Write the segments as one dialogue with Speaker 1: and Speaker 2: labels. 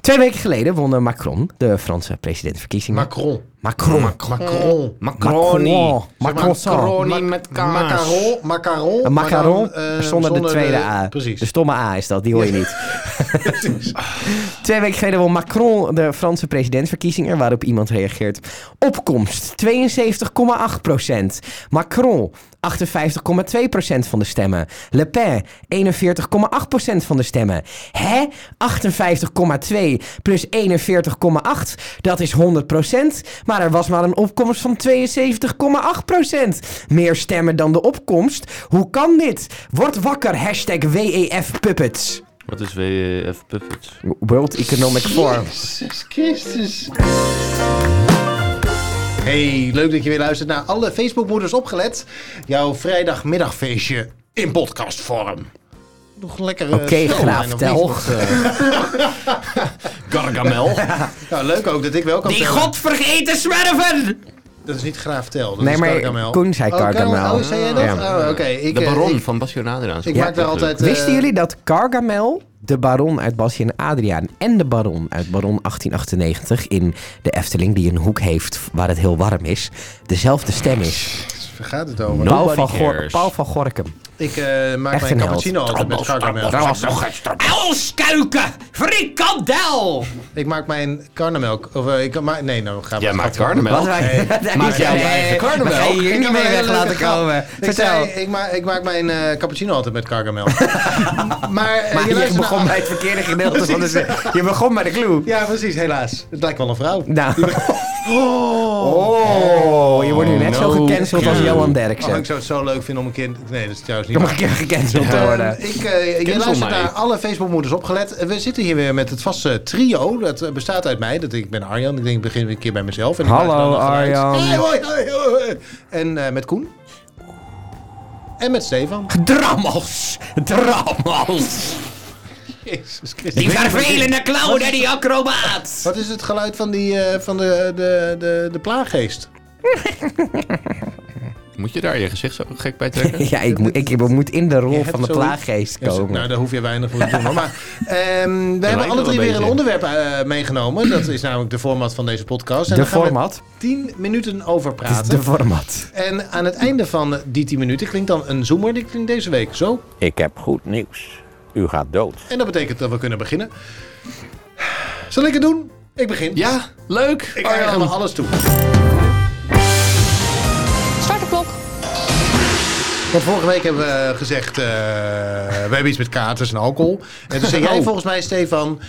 Speaker 1: Twee weken geleden won eh, Macron de Franse presidentverkiezingen.
Speaker 2: Macron.
Speaker 1: Macron. Eh,
Speaker 2: Mac- Macron.
Speaker 3: Macaroni.
Speaker 1: Macron.
Speaker 2: Zeg maar
Speaker 1: Macron.
Speaker 3: Macaroni
Speaker 2: Mac-
Speaker 3: met kaas.
Speaker 2: Macaron. Macaron.
Speaker 1: Een
Speaker 2: maar
Speaker 1: macaron
Speaker 2: dan, eh,
Speaker 1: zonder de tweede A. Dus-
Speaker 2: Precies.
Speaker 1: De stomme A is dat, die hoor je niet.
Speaker 2: Precies.
Speaker 1: Twee weken geleden won Macron de Franse presidentsverkiezingen, waarop iemand reageert. Opkomst 72,8 Macron 58,2 van de stemmen. Le Pen 41,8 van de stemmen. Hè? 58,2 plus 41,8, dat is 100 Maar er was maar een opkomst van 72,8 Meer stemmen dan de opkomst? Hoe kan dit? Word wakker, hashtag WEF Puppets.
Speaker 3: Wat is WEF Puppets?
Speaker 1: World Economic Forum.
Speaker 2: Jezus Christus. Hey, leuk dat je weer luistert naar alle Facebookmoeders opgelet. Jouw vrijdagmiddagfeestje in podcastvorm. Nog lekker.
Speaker 1: Oké, Graaf Tel.
Speaker 3: Gargamel.
Speaker 2: Nou, leuk ook dat ik wel kan
Speaker 1: Die
Speaker 2: tellen.
Speaker 1: godvergeten zwerven!
Speaker 2: Dat is niet Graaf Tel. Dat
Speaker 1: Nee,
Speaker 2: is
Speaker 1: maar
Speaker 2: Gargamel.
Speaker 1: Koen zei
Speaker 2: Oh, Car-
Speaker 1: Gargamel.
Speaker 2: Oh, zei jij dat?
Speaker 1: Ja.
Speaker 2: Oh, oké. Ik,
Speaker 3: de
Speaker 2: eh,
Speaker 3: baron
Speaker 2: ik-
Speaker 3: van Bastion Adriaans.
Speaker 2: Ik maak daar altijd... eh,
Speaker 1: Wisten jullie dat Gargamel, de baron uit Basje en Adriaan... en de baron uit Baron 1898 in de Efteling... die een hoek heeft waar het heel warm is... dezelfde stem is.
Speaker 2: Waar gaat het over?
Speaker 3: No.
Speaker 1: Paul
Speaker 3: Nobody
Speaker 1: van, Gor-
Speaker 3: cares.
Speaker 1: Paul van Gorkum.
Speaker 2: Ik eh, maak
Speaker 1: Echt
Speaker 2: mijn
Speaker 1: een held.
Speaker 2: cappuccino altijd met Gargamel.
Speaker 1: Uilskuiken! Frikandel!
Speaker 2: Ik maak mijn karnemelk. Of eh, ik maak. Nee, nou, ga
Speaker 3: Jij maakt
Speaker 1: Wat
Speaker 3: Gargamel.
Speaker 1: wij...
Speaker 3: maak jij je eigen
Speaker 1: We gaan je hier niet mee weg laten komen.
Speaker 2: Ik,
Speaker 1: Vertel.
Speaker 2: zei, ik, maak, ik maak mijn eh, cappuccino altijd met kargamel. maar eh,
Speaker 1: Maar je
Speaker 2: luistert
Speaker 1: begon
Speaker 2: naar-
Speaker 1: bij het verkeerde gedeelte van de zin. Je begon bij de clue.
Speaker 2: Ja, precies, helaas. Het lijkt wel een vrouw.
Speaker 1: Nou.
Speaker 2: Oh,
Speaker 1: Oh, je wordt nu net zo
Speaker 3: no
Speaker 1: gecanceld als
Speaker 3: clue.
Speaker 1: Johan Derksen.
Speaker 2: Oh, ik zou het zo leuk vinden om een kind... Nee, dat is trouwens
Speaker 1: Je
Speaker 2: niet
Speaker 1: mag
Speaker 2: waar.
Speaker 1: een keer gecanceld te worden.
Speaker 2: Ehm, ik, eh je
Speaker 3: Cancel
Speaker 2: luistert
Speaker 3: mij.
Speaker 2: naar alle Facebookmoeders opgelet. Eh, We zitten hier weer met het vaste trio. Dat eh, bestaat uit mij. Dat, ik ben Arjan. Ik denk ik begin weer een keer bij mezelf. En ik
Speaker 1: Hallo,
Speaker 2: maak dan een geluid.
Speaker 1: Arjan.
Speaker 2: Hey, hoi, hoi, hoi. En eh, met Koen. En met Stefan.
Speaker 1: Drammels! Drammels!
Speaker 2: Jezus Christus.
Speaker 1: Die vervelende clown en die acrobaat!
Speaker 2: Wat is het geluid van, die, eh, van de, de, de, de plaaggeest?
Speaker 3: Moet je daar je gezicht zo gek bij trekken?
Speaker 1: Ja, ik, moet- ik, ik moet in de rol van de plaaggeest
Speaker 2: Ja, zo-
Speaker 1: komen.
Speaker 2: Nou, daar hoef je weinig voor te doen. hoor. Maar ehm, we hebben alle
Speaker 3: wel
Speaker 2: drie weer
Speaker 3: een
Speaker 2: een
Speaker 3: beetje.
Speaker 2: onderwerp eh, meegenomen. Dat is namelijk de format van deze podcast. En
Speaker 1: De
Speaker 2: daar gaan we
Speaker 1: format?
Speaker 2: tien minuten over
Speaker 1: Het is
Speaker 2: praten.
Speaker 1: de format.
Speaker 2: En aan het einde van die tien minuten klinkt dan een zoomer. Die klinkt deze week zo.
Speaker 4: Ik heb goed nieuws. U gaat dood.
Speaker 2: En dat betekent dat we kunnen beginnen. Zal ik het doen? Ik begin.
Speaker 3: Ja, leuk. Oh,
Speaker 2: Ik
Speaker 3: Arjan.
Speaker 2: ga helemaal alles toe.
Speaker 5: Start de klok.
Speaker 2: Want vorige week hebben we gezegd, eh, we hebben iets met katers en alcohol. En toen zei
Speaker 3: Oh.
Speaker 2: jij volgens mij, Stefan,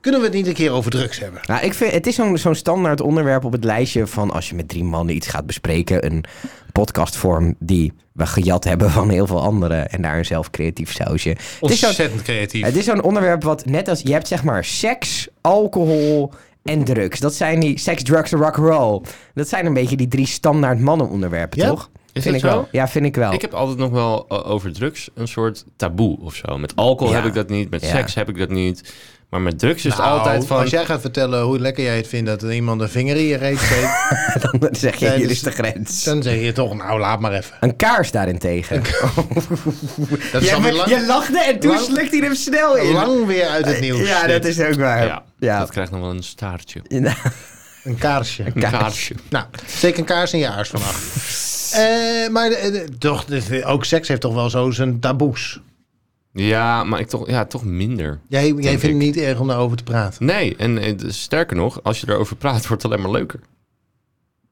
Speaker 2: kunnen we het niet een keer over drugs hebben?
Speaker 1: Nou, ik vind, het is zo'n zo'n standaard onderwerp op het lijstje van als je met drie mannen iets gaat bespreken. Een podcastvorm die we gejat hebben van heel veel anderen. En daar een zelf creatief sausje. Het is zo'n-
Speaker 2: Ontzettend creatief.
Speaker 1: Het is zo'n onderwerp wat net als... Je hebt zeg maar seks, alcohol en drugs. Dat zijn die seks, drugs en rock'n'roll. Dat zijn een beetje die drie standaard mannenonderwerpen,
Speaker 2: Ja?
Speaker 1: toch?
Speaker 3: Is
Speaker 1: vind
Speaker 3: dat
Speaker 1: ik
Speaker 3: zo?
Speaker 1: wel. Ja, vind ik wel.
Speaker 3: Ik heb altijd nog wel eh, over drugs een soort taboe of zo. Met alcohol
Speaker 1: Ja.
Speaker 3: heb ik dat niet, met
Speaker 1: Ja.
Speaker 3: seks heb ik dat niet. Maar met drugs is het
Speaker 2: Nou,
Speaker 3: altijd van...
Speaker 2: Als jij gaat vertellen hoe lekker jij het vindt dat er iemand een vinger in je reet steekt,
Speaker 1: Dan zeg je,
Speaker 2: Nee,
Speaker 1: hier
Speaker 2: dus-
Speaker 1: is de grens.
Speaker 2: dan zeg je toch, nou laat maar even.
Speaker 1: Een kaars daarentegen.
Speaker 2: Dat is
Speaker 1: Jij
Speaker 2: alweer
Speaker 1: bent- je
Speaker 2: lang,
Speaker 1: lachte en toen
Speaker 2: lang-
Speaker 1: slikte hij hem snel in.
Speaker 2: lang weer uit het nieuws.
Speaker 1: ja, dat is ook waar.
Speaker 3: ja,
Speaker 1: Ja. Nou,
Speaker 3: dat krijgt nog wel een staartje.
Speaker 2: Een kaarsje.
Speaker 3: Een
Speaker 1: Kaars.
Speaker 3: kaarsje.
Speaker 2: Nou, steek een kaars in je aars vanaf. Eh, maar eh, eh, toch, dit- ook seks heeft toch wel zo zijn taboes.
Speaker 3: Ja, maar ik toch, ja, toch minder.
Speaker 2: Jij, jij vindt
Speaker 3: ik.
Speaker 2: het niet erg om daarover te praten.
Speaker 3: Nee, en eh, d- sterker nog, als je erover praat, wordt het alleen maar leuker.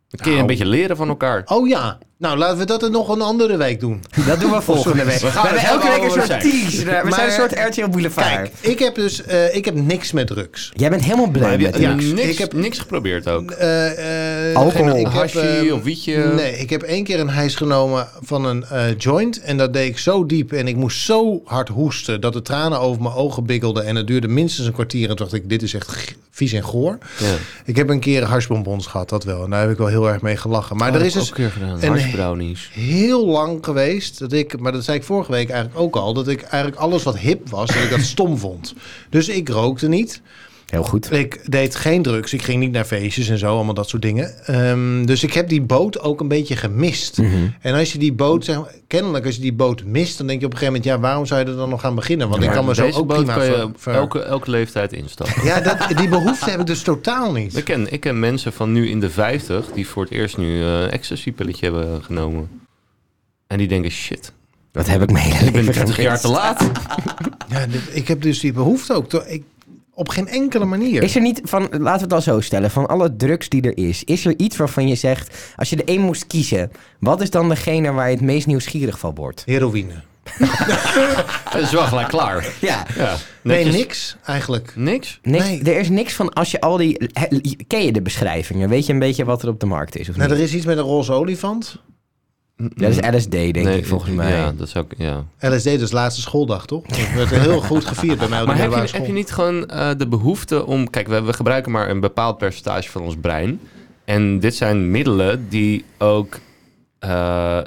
Speaker 3: Dan kun je
Speaker 2: Nou.
Speaker 3: een beetje leren van elkaar.
Speaker 2: Oh ja, nou laten we dat er nog een andere week doen.
Speaker 1: Dat doen we volgende week. We,
Speaker 3: gaan
Speaker 1: hebben
Speaker 3: het
Speaker 1: elke
Speaker 3: hebben
Speaker 1: week een
Speaker 3: over
Speaker 1: soort
Speaker 3: seks.
Speaker 1: tease. We
Speaker 2: Maar-
Speaker 1: zijn een soort RTL Boulevard.
Speaker 2: Kijk, ik heb dus eh, ik heb niks met drugs.
Speaker 1: Jij bent helemaal blij
Speaker 3: Heb je
Speaker 1: met
Speaker 3: ja,
Speaker 1: drugs.
Speaker 3: niks,
Speaker 2: Ik heb-
Speaker 3: niks geprobeerd ook?
Speaker 2: Eh, eh,
Speaker 1: Alcohol.
Speaker 2: geen- ik heb,
Speaker 3: Hashi
Speaker 2: eh,
Speaker 3: of wietje?
Speaker 2: Nee, ik heb één keer een hijs genomen van een eh, joint. En dat deed ik zo diep. En ik moest zo hard hoesten dat de tranen over mijn ogen bikkelden. En het duurde minstens een kwartier. En toen dacht ik, dit is echt g- vies en goor.
Speaker 3: Ja.
Speaker 2: Ik heb een keer harsbonbons gehad, dat wel. En daar heb ik wel heel erg mee gelachen. Maar er is
Speaker 3: ook
Speaker 2: dus
Speaker 3: een keer gedaan.
Speaker 2: een-
Speaker 3: Harsbrownies.
Speaker 2: heel lang geweest dat ik, maar dat zei ik vorige week eigenlijk ook al, dat ik eigenlijk alles wat hip was, dat ik dat stom vond. Dus ik rookte niet.
Speaker 1: Heel goed.
Speaker 2: Ik deed geen drugs. Ik ging niet naar feestjes en zo, allemaal dat soort dingen. Ehm, dus ik heb die boot ook een beetje gemist.
Speaker 3: Mhm.
Speaker 2: En als je die boot, zeg maar, kennelijk als je die boot mist, dan denk je op een gegeven moment, ja, waarom zou je er dan nog aan beginnen? Want ik kan me zo
Speaker 3: Deze
Speaker 2: ook
Speaker 3: boot
Speaker 2: prima
Speaker 3: kan je
Speaker 2: ver-
Speaker 3: op
Speaker 2: ver-
Speaker 3: elke, elke leeftijd instappen.
Speaker 2: Ja, dat, die behoefte heb ik dus totaal
Speaker 3: ik,
Speaker 2: niet.
Speaker 3: ken, ik ken mensen van nu in de 50 die voor het eerst nu eh ecstasy-pilletje hebben genomen. En die denken, shit,
Speaker 1: Wat heb ik mijn hele
Speaker 3: ik ben
Speaker 1: leven
Speaker 3: 30 jaar
Speaker 1: gemist.
Speaker 3: te laat.
Speaker 2: Ja, dit- ik heb dus die behoefte ook to- ik, op geen enkele manier.
Speaker 1: Is er niet van, laten we het dan zo stellen, van alle drugs die er is, is er iets waarvan je zegt, als je er één moest kiezen, wat is dan degene waar je het meest nieuwsgierig van wordt?
Speaker 2: Heroïne.
Speaker 3: Dat is wel gelijk klaar.
Speaker 1: Ja.
Speaker 3: Ja,
Speaker 2: Nee,
Speaker 3: netjes.
Speaker 2: niks eigenlijk.
Speaker 3: Niks?
Speaker 1: Niks,
Speaker 2: Nee.
Speaker 1: Er is niks van als je al die. he- ken je de beschrijvingen? Weet je een beetje wat er op de markt is? Of
Speaker 2: Nou,
Speaker 1: niet?
Speaker 2: er is iets met een roze olifant.
Speaker 1: Dat is LSD, denk ik, volgens mij.
Speaker 3: Ja, dat zou ik, ja.
Speaker 2: LSD, dat is laatste schooldag, toch? Dat werd heel goed gevierd bij mij op de
Speaker 3: Maar heb
Speaker 2: middelbare
Speaker 3: je,
Speaker 2: school.
Speaker 3: heb je niet gewoon eh, de behoefte om... Kijk, we, we gebruiken maar een bepaald percentage van ons brein. En dit zijn middelen die ook eh,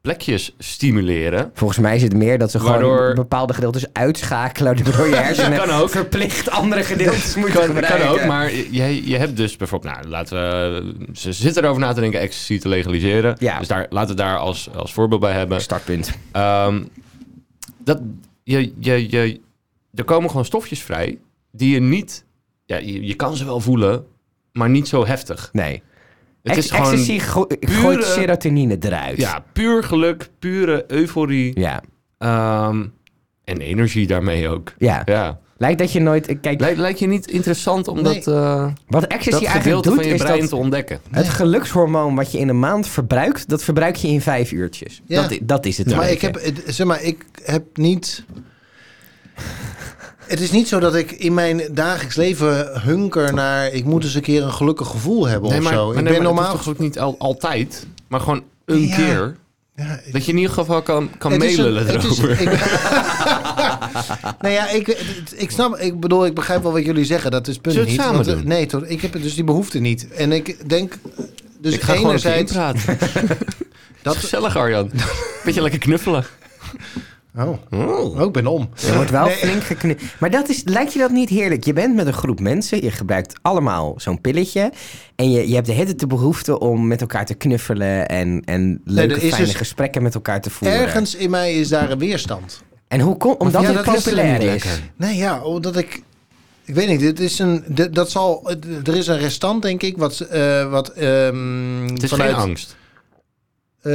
Speaker 3: plekjes stimuleren.
Speaker 1: Volgens mij is het meer dat ze
Speaker 3: Waardoor-
Speaker 1: gewoon bepaalde gedeeltes uitschakelen. Waardoor je hersenen
Speaker 3: kan ook.
Speaker 1: verplicht andere gedeeltes moeten
Speaker 3: Kan, kan
Speaker 1: gebruiken.
Speaker 3: ook, maar je, je hebt dus bijvoorbeeld... Nou, laten we, ze zitten erover na te denken ecstasy te legaliseren.
Speaker 1: Ja.
Speaker 3: Dus daar, laten we daar als, als voorbeeld bij hebben.
Speaker 1: Startpunt.
Speaker 3: Ehm, dat, je, je, je, er komen gewoon stofjes vrij die je niet... Ja, je, je kan ze wel voelen, maar niet zo heftig.
Speaker 1: Nee.
Speaker 3: Het
Speaker 1: Ex-
Speaker 3: is gewoon
Speaker 1: Ecstasy go- gooit serotonine eruit.
Speaker 3: ja, puur geluk, pure euforie
Speaker 1: Ja.
Speaker 3: ehm, en energie daarmee ook.
Speaker 1: Ja.
Speaker 3: Ja.
Speaker 1: Lijkt dat je nooit. Kijk,
Speaker 3: Lijkt, lijkt je niet interessant om dat, eh,
Speaker 1: wat ecstasy
Speaker 3: dat
Speaker 1: eigenlijk
Speaker 3: gedeelte
Speaker 1: doet,
Speaker 3: van je
Speaker 1: is
Speaker 3: brein
Speaker 1: dat
Speaker 3: te ontdekken?
Speaker 1: het gelukshormoon wat je in een maand verbruikt, dat verbruik je in vijf uurtjes.
Speaker 2: Ja.
Speaker 1: Dat, i- dat is het. een
Speaker 2: maar ik
Speaker 1: beetje.
Speaker 2: heb, het- zeg maar, ik heb niet. Het is niet zo dat ik in mijn dagelijks leven hunker naar. Ik moet eens een keer een gelukkig gevoel hebben of zo. ik ben normaal.
Speaker 3: dat hoeft ook niet al- altijd, maar gewoon een
Speaker 2: Ja.
Speaker 3: keer.
Speaker 2: Ja, ik-
Speaker 3: Dat je in ieder geval kan, kan
Speaker 2: het is een-
Speaker 3: meelullen
Speaker 2: het is-
Speaker 3: erover.
Speaker 2: ik- nou ja, ik, ik snap, ik bedoel, ik begrijp wel wat jullie zeggen. Dat is het punt
Speaker 3: Zullen we
Speaker 2: niet.
Speaker 3: het samen
Speaker 2: want,
Speaker 3: doen?
Speaker 2: Nee, toch, ik heb dus die behoefte niet. En ik denk, dus
Speaker 3: ik ga gewoon even
Speaker 2: enerzijds.
Speaker 3: inpraten. Dat is
Speaker 2: Dat,
Speaker 3: gezellig, Arjan. Beetje lekker knuffelen.
Speaker 2: oh, oh, ik ben om.
Speaker 1: Je wordt wel
Speaker 2: Nee.
Speaker 1: flink geknipt. Maar dat is, lijkt je dat niet heerlijk? Je bent met een groep mensen, je gebruikt allemaal zo'n pilletje. En je, je hebt de hele tijd de behoefte om met elkaar te knuffelen en, en leuke,
Speaker 2: er is
Speaker 1: fijne
Speaker 2: dus
Speaker 1: gesprekken met elkaar te voeren.
Speaker 2: Ergens in mij is daar een weerstand.
Speaker 1: En hoe komt, omdat
Speaker 2: Ja,
Speaker 1: het
Speaker 2: dat is
Speaker 1: populair
Speaker 2: niet
Speaker 1: is.
Speaker 3: lekker.
Speaker 2: Nee, ja, omdat ik. Ik weet niet, dit is een. dit- dat zal. Er is een restant, denk ik, wat. eh, wat ehm,
Speaker 3: Het is
Speaker 2: vanuit,
Speaker 3: geen angst.
Speaker 2: eh,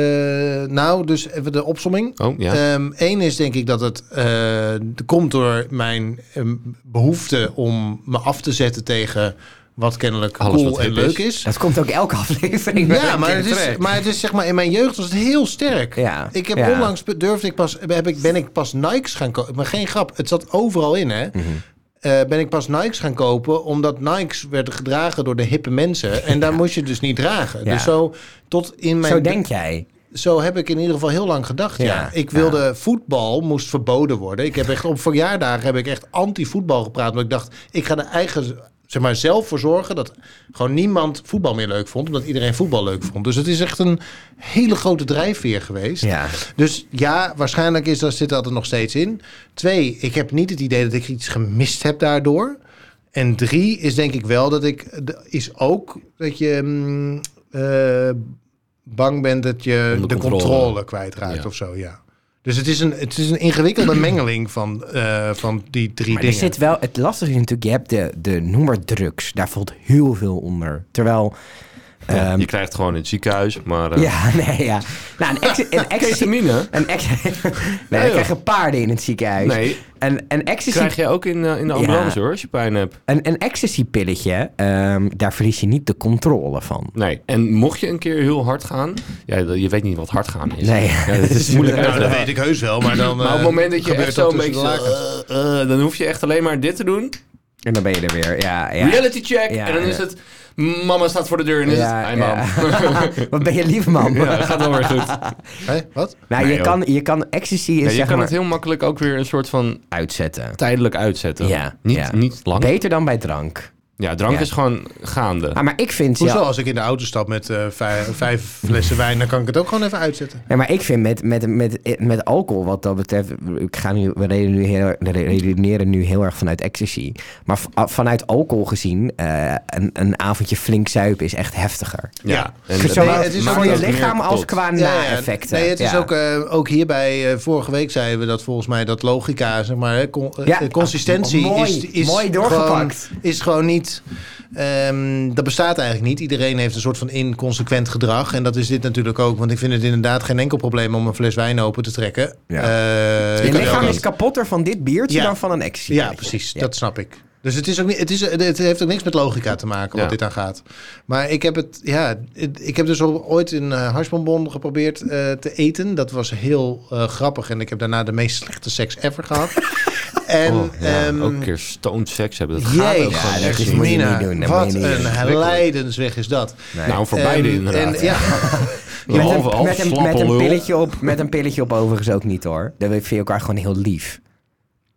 Speaker 2: nou, dus even de opsomming.
Speaker 3: Oh, ja.
Speaker 2: Eén is denk ik dat het eh, komt door mijn ehm, behoefte om me af te zetten tegen wat kennelijk
Speaker 3: Alles
Speaker 2: cool
Speaker 3: wat
Speaker 2: en
Speaker 3: hip
Speaker 2: leuk
Speaker 3: is.
Speaker 2: is.
Speaker 1: Dat komt ook elke aflevering. wel
Speaker 2: Ja,
Speaker 1: een
Speaker 2: maar
Speaker 1: keer
Speaker 2: het, is,
Speaker 1: terug.
Speaker 2: maar het is zeg maar in mijn jeugd was het heel sterk.
Speaker 1: Ja,
Speaker 2: Ik heb
Speaker 1: ja.
Speaker 2: onlangs be- durfde ik pas heb ik, ben ik pas Nikes gaan kopen. Maar geen grap, het zat overal in hè.
Speaker 1: Mhm.
Speaker 2: Eh, ben ik pas Nikes gaan kopen omdat Nikes werden gedragen door de hippe mensen en daar moest je dus niet dragen.
Speaker 1: Ja.
Speaker 2: Dus zo tot in mijn
Speaker 1: Zo denk jij.
Speaker 2: zo heb ik in ieder geval heel lang gedacht. Ja,
Speaker 1: Ja,
Speaker 2: ik
Speaker 1: ja.
Speaker 2: wilde voetbal moest verboden worden. Ik heb echt op verjaardagen heb ik echt anti-voetbal gepraat, want ik dacht ik ga er eigen zeg maar zelf voor zorgen dat gewoon niemand voetbal meer leuk vond, omdat iedereen voetbal leuk vond. Dus het is echt een hele grote drijfveer geweest.
Speaker 1: Ja.
Speaker 2: Dus ja, waarschijnlijk is dat zit dat er nog steeds in. Twee, ik heb niet het idee dat ik iets gemist heb daardoor. En drie is denk ik wel dat ik de- is ook dat je mm, eh, bang bent dat je
Speaker 3: Onder
Speaker 2: de
Speaker 3: controle.
Speaker 2: controle, kwijtraakt
Speaker 3: Ja.
Speaker 2: of zo. Ja. Dus het is een, het is een ingewikkelde mengeling van, eh, van die drie
Speaker 1: Maar er
Speaker 2: dingen.
Speaker 1: zit wel, het lastige is natuurlijk, je hebt de, de noem maar drugs. Daar valt heel veel onder. Terwijl...
Speaker 3: Ja,
Speaker 1: ehm,
Speaker 3: je krijgt gewoon in het ziekenhuis, maar... eh,
Speaker 1: ja, nee, ja. Nou, een ex, een ex,
Speaker 3: Ketamine?
Speaker 1: Een ex- nee,
Speaker 3: joh.
Speaker 1: dan krijgen paarden in het ziekenhuis.
Speaker 3: Nee,
Speaker 1: En een ecstasy,
Speaker 3: krijg je ook in, eh, in de
Speaker 1: Ja.
Speaker 3: ambulance hoor, als je pijn hebt.
Speaker 1: een, een ecstasy pilletje, daar verlies je niet de controle van.
Speaker 3: Nee, en mocht je een keer heel hard gaan... Ja, je weet niet wat hard gaan is.
Speaker 1: Nee. Dus
Speaker 3: Ja, dat is moeilijk uit
Speaker 2: Nou,
Speaker 3: te
Speaker 2: dat
Speaker 3: leggen.
Speaker 2: weet ik heus wel, maar dan.
Speaker 3: Maar op het
Speaker 2: eh,
Speaker 3: moment dat je
Speaker 2: gebeurt
Speaker 3: echt zo'n
Speaker 2: tussen
Speaker 3: beetje...
Speaker 2: de
Speaker 3: zo,
Speaker 2: lagen.
Speaker 3: eh, eh, dan hoef je echt alleen maar dit te doen.
Speaker 1: En dan ben je er weer. Ja, ja.
Speaker 3: Reality check.
Speaker 1: Ja,
Speaker 3: en dan
Speaker 1: ja.
Speaker 3: is het... Mama staat voor de deur en is
Speaker 1: Ja,
Speaker 3: het... Hi, mam.
Speaker 1: Wat ben je lief, man.
Speaker 3: Ja, gaat wel weer goed.
Speaker 2: Hè, wat?
Speaker 1: Nou,
Speaker 3: Nee,
Speaker 1: je,
Speaker 3: joh.
Speaker 1: kan, je kan ecstasy is
Speaker 3: Ja, je
Speaker 1: zeg
Speaker 3: kan
Speaker 1: maar
Speaker 3: het heel makkelijk ook weer een soort van
Speaker 1: uitzetten.
Speaker 3: tijdelijk uitzetten.
Speaker 1: Ja,
Speaker 3: niet,
Speaker 1: ja.
Speaker 3: niet lang.
Speaker 1: Beter dan bij drank.
Speaker 3: Ja, drank
Speaker 1: Ja.
Speaker 3: is gewoon gaande.
Speaker 1: Ah, maar ik vind...
Speaker 2: Hoezo?
Speaker 1: Ja,
Speaker 2: Als ik in de auto stap met eh, vijf, vijf flessen wijn, dan kan ik het ook gewoon even uitzetten.
Speaker 1: Nee, maar ik vind met, met, met, met alcohol, wat dat betreft, ik ga nu, we reden nu heel, we redeneren nu heel erg vanuit ecstasy. Maar v- a- vanuit alcohol gezien, eh, een, een avondje flink zuipen is echt heftiger. Dus
Speaker 2: Ja.
Speaker 3: En
Speaker 1: Zowel
Speaker 2: nee, het is
Speaker 3: maakt
Speaker 1: voor je
Speaker 3: ook meer
Speaker 1: lichaam als
Speaker 3: tot.
Speaker 1: qua
Speaker 2: Ja, ja.
Speaker 1: na-effecten.
Speaker 2: Nee, het is
Speaker 1: Ja.
Speaker 2: ook, eh, ook hierbij, eh, vorige week zeiden we dat volgens mij dat logica, zeg maar, hè, con- eh,
Speaker 1: Ja.
Speaker 2: eh, consistentie
Speaker 1: Ah, mooi.
Speaker 2: is, is,
Speaker 1: Mooi doorgepakt.
Speaker 2: Gewoon, is gewoon niet, ehm, dat bestaat eigenlijk niet. Iedereen heeft een soort van inconsequent gedrag en dat is dit natuurlijk ook, want ik vind het inderdaad geen enkel probleem om een fles wijn open te trekken.
Speaker 1: Ja.
Speaker 2: Eh,
Speaker 1: Je
Speaker 2: kan ook
Speaker 1: lichaam
Speaker 2: niet.
Speaker 1: is kapotter van dit biertje
Speaker 2: Ja.
Speaker 1: dan van een ecstasy.
Speaker 2: Ja, precies. Dat snap ik. Dus het, is ook niet, het, is, het heeft ook niks met logica te maken wat
Speaker 3: Ja.
Speaker 2: dit aan gaat. Maar ik heb het, ja, het- ik heb dus al ooit een eh, harsbonbon geprobeerd eh, te eten. Dat was heel eh, grappig en ik heb daarna de meest slechte seks ever gehad. en
Speaker 3: Oh, ja,
Speaker 2: ehm,
Speaker 3: ook een keer stoned seks hebben. Dat gaat
Speaker 2: Jee,
Speaker 3: ook gewoon
Speaker 1: Ja, dat
Speaker 3: echt
Speaker 1: is
Speaker 3: niet.
Speaker 1: moet je
Speaker 2: Mina,
Speaker 1: niet doen, dat moet
Speaker 2: wat
Speaker 1: je niet
Speaker 2: een
Speaker 1: doen.
Speaker 2: herleidensweg is dat.
Speaker 3: Nou, voor beide
Speaker 2: Ehm,
Speaker 3: inderdaad.
Speaker 2: En, ja,
Speaker 1: Met
Speaker 3: Halve
Speaker 1: een,
Speaker 3: half,
Speaker 1: met, een,
Speaker 3: slappe
Speaker 1: met, een
Speaker 3: lul.
Speaker 1: pilletje op, met een pilletje op overigens ook niet hoor. Dan vind je elkaar gewoon heel lief.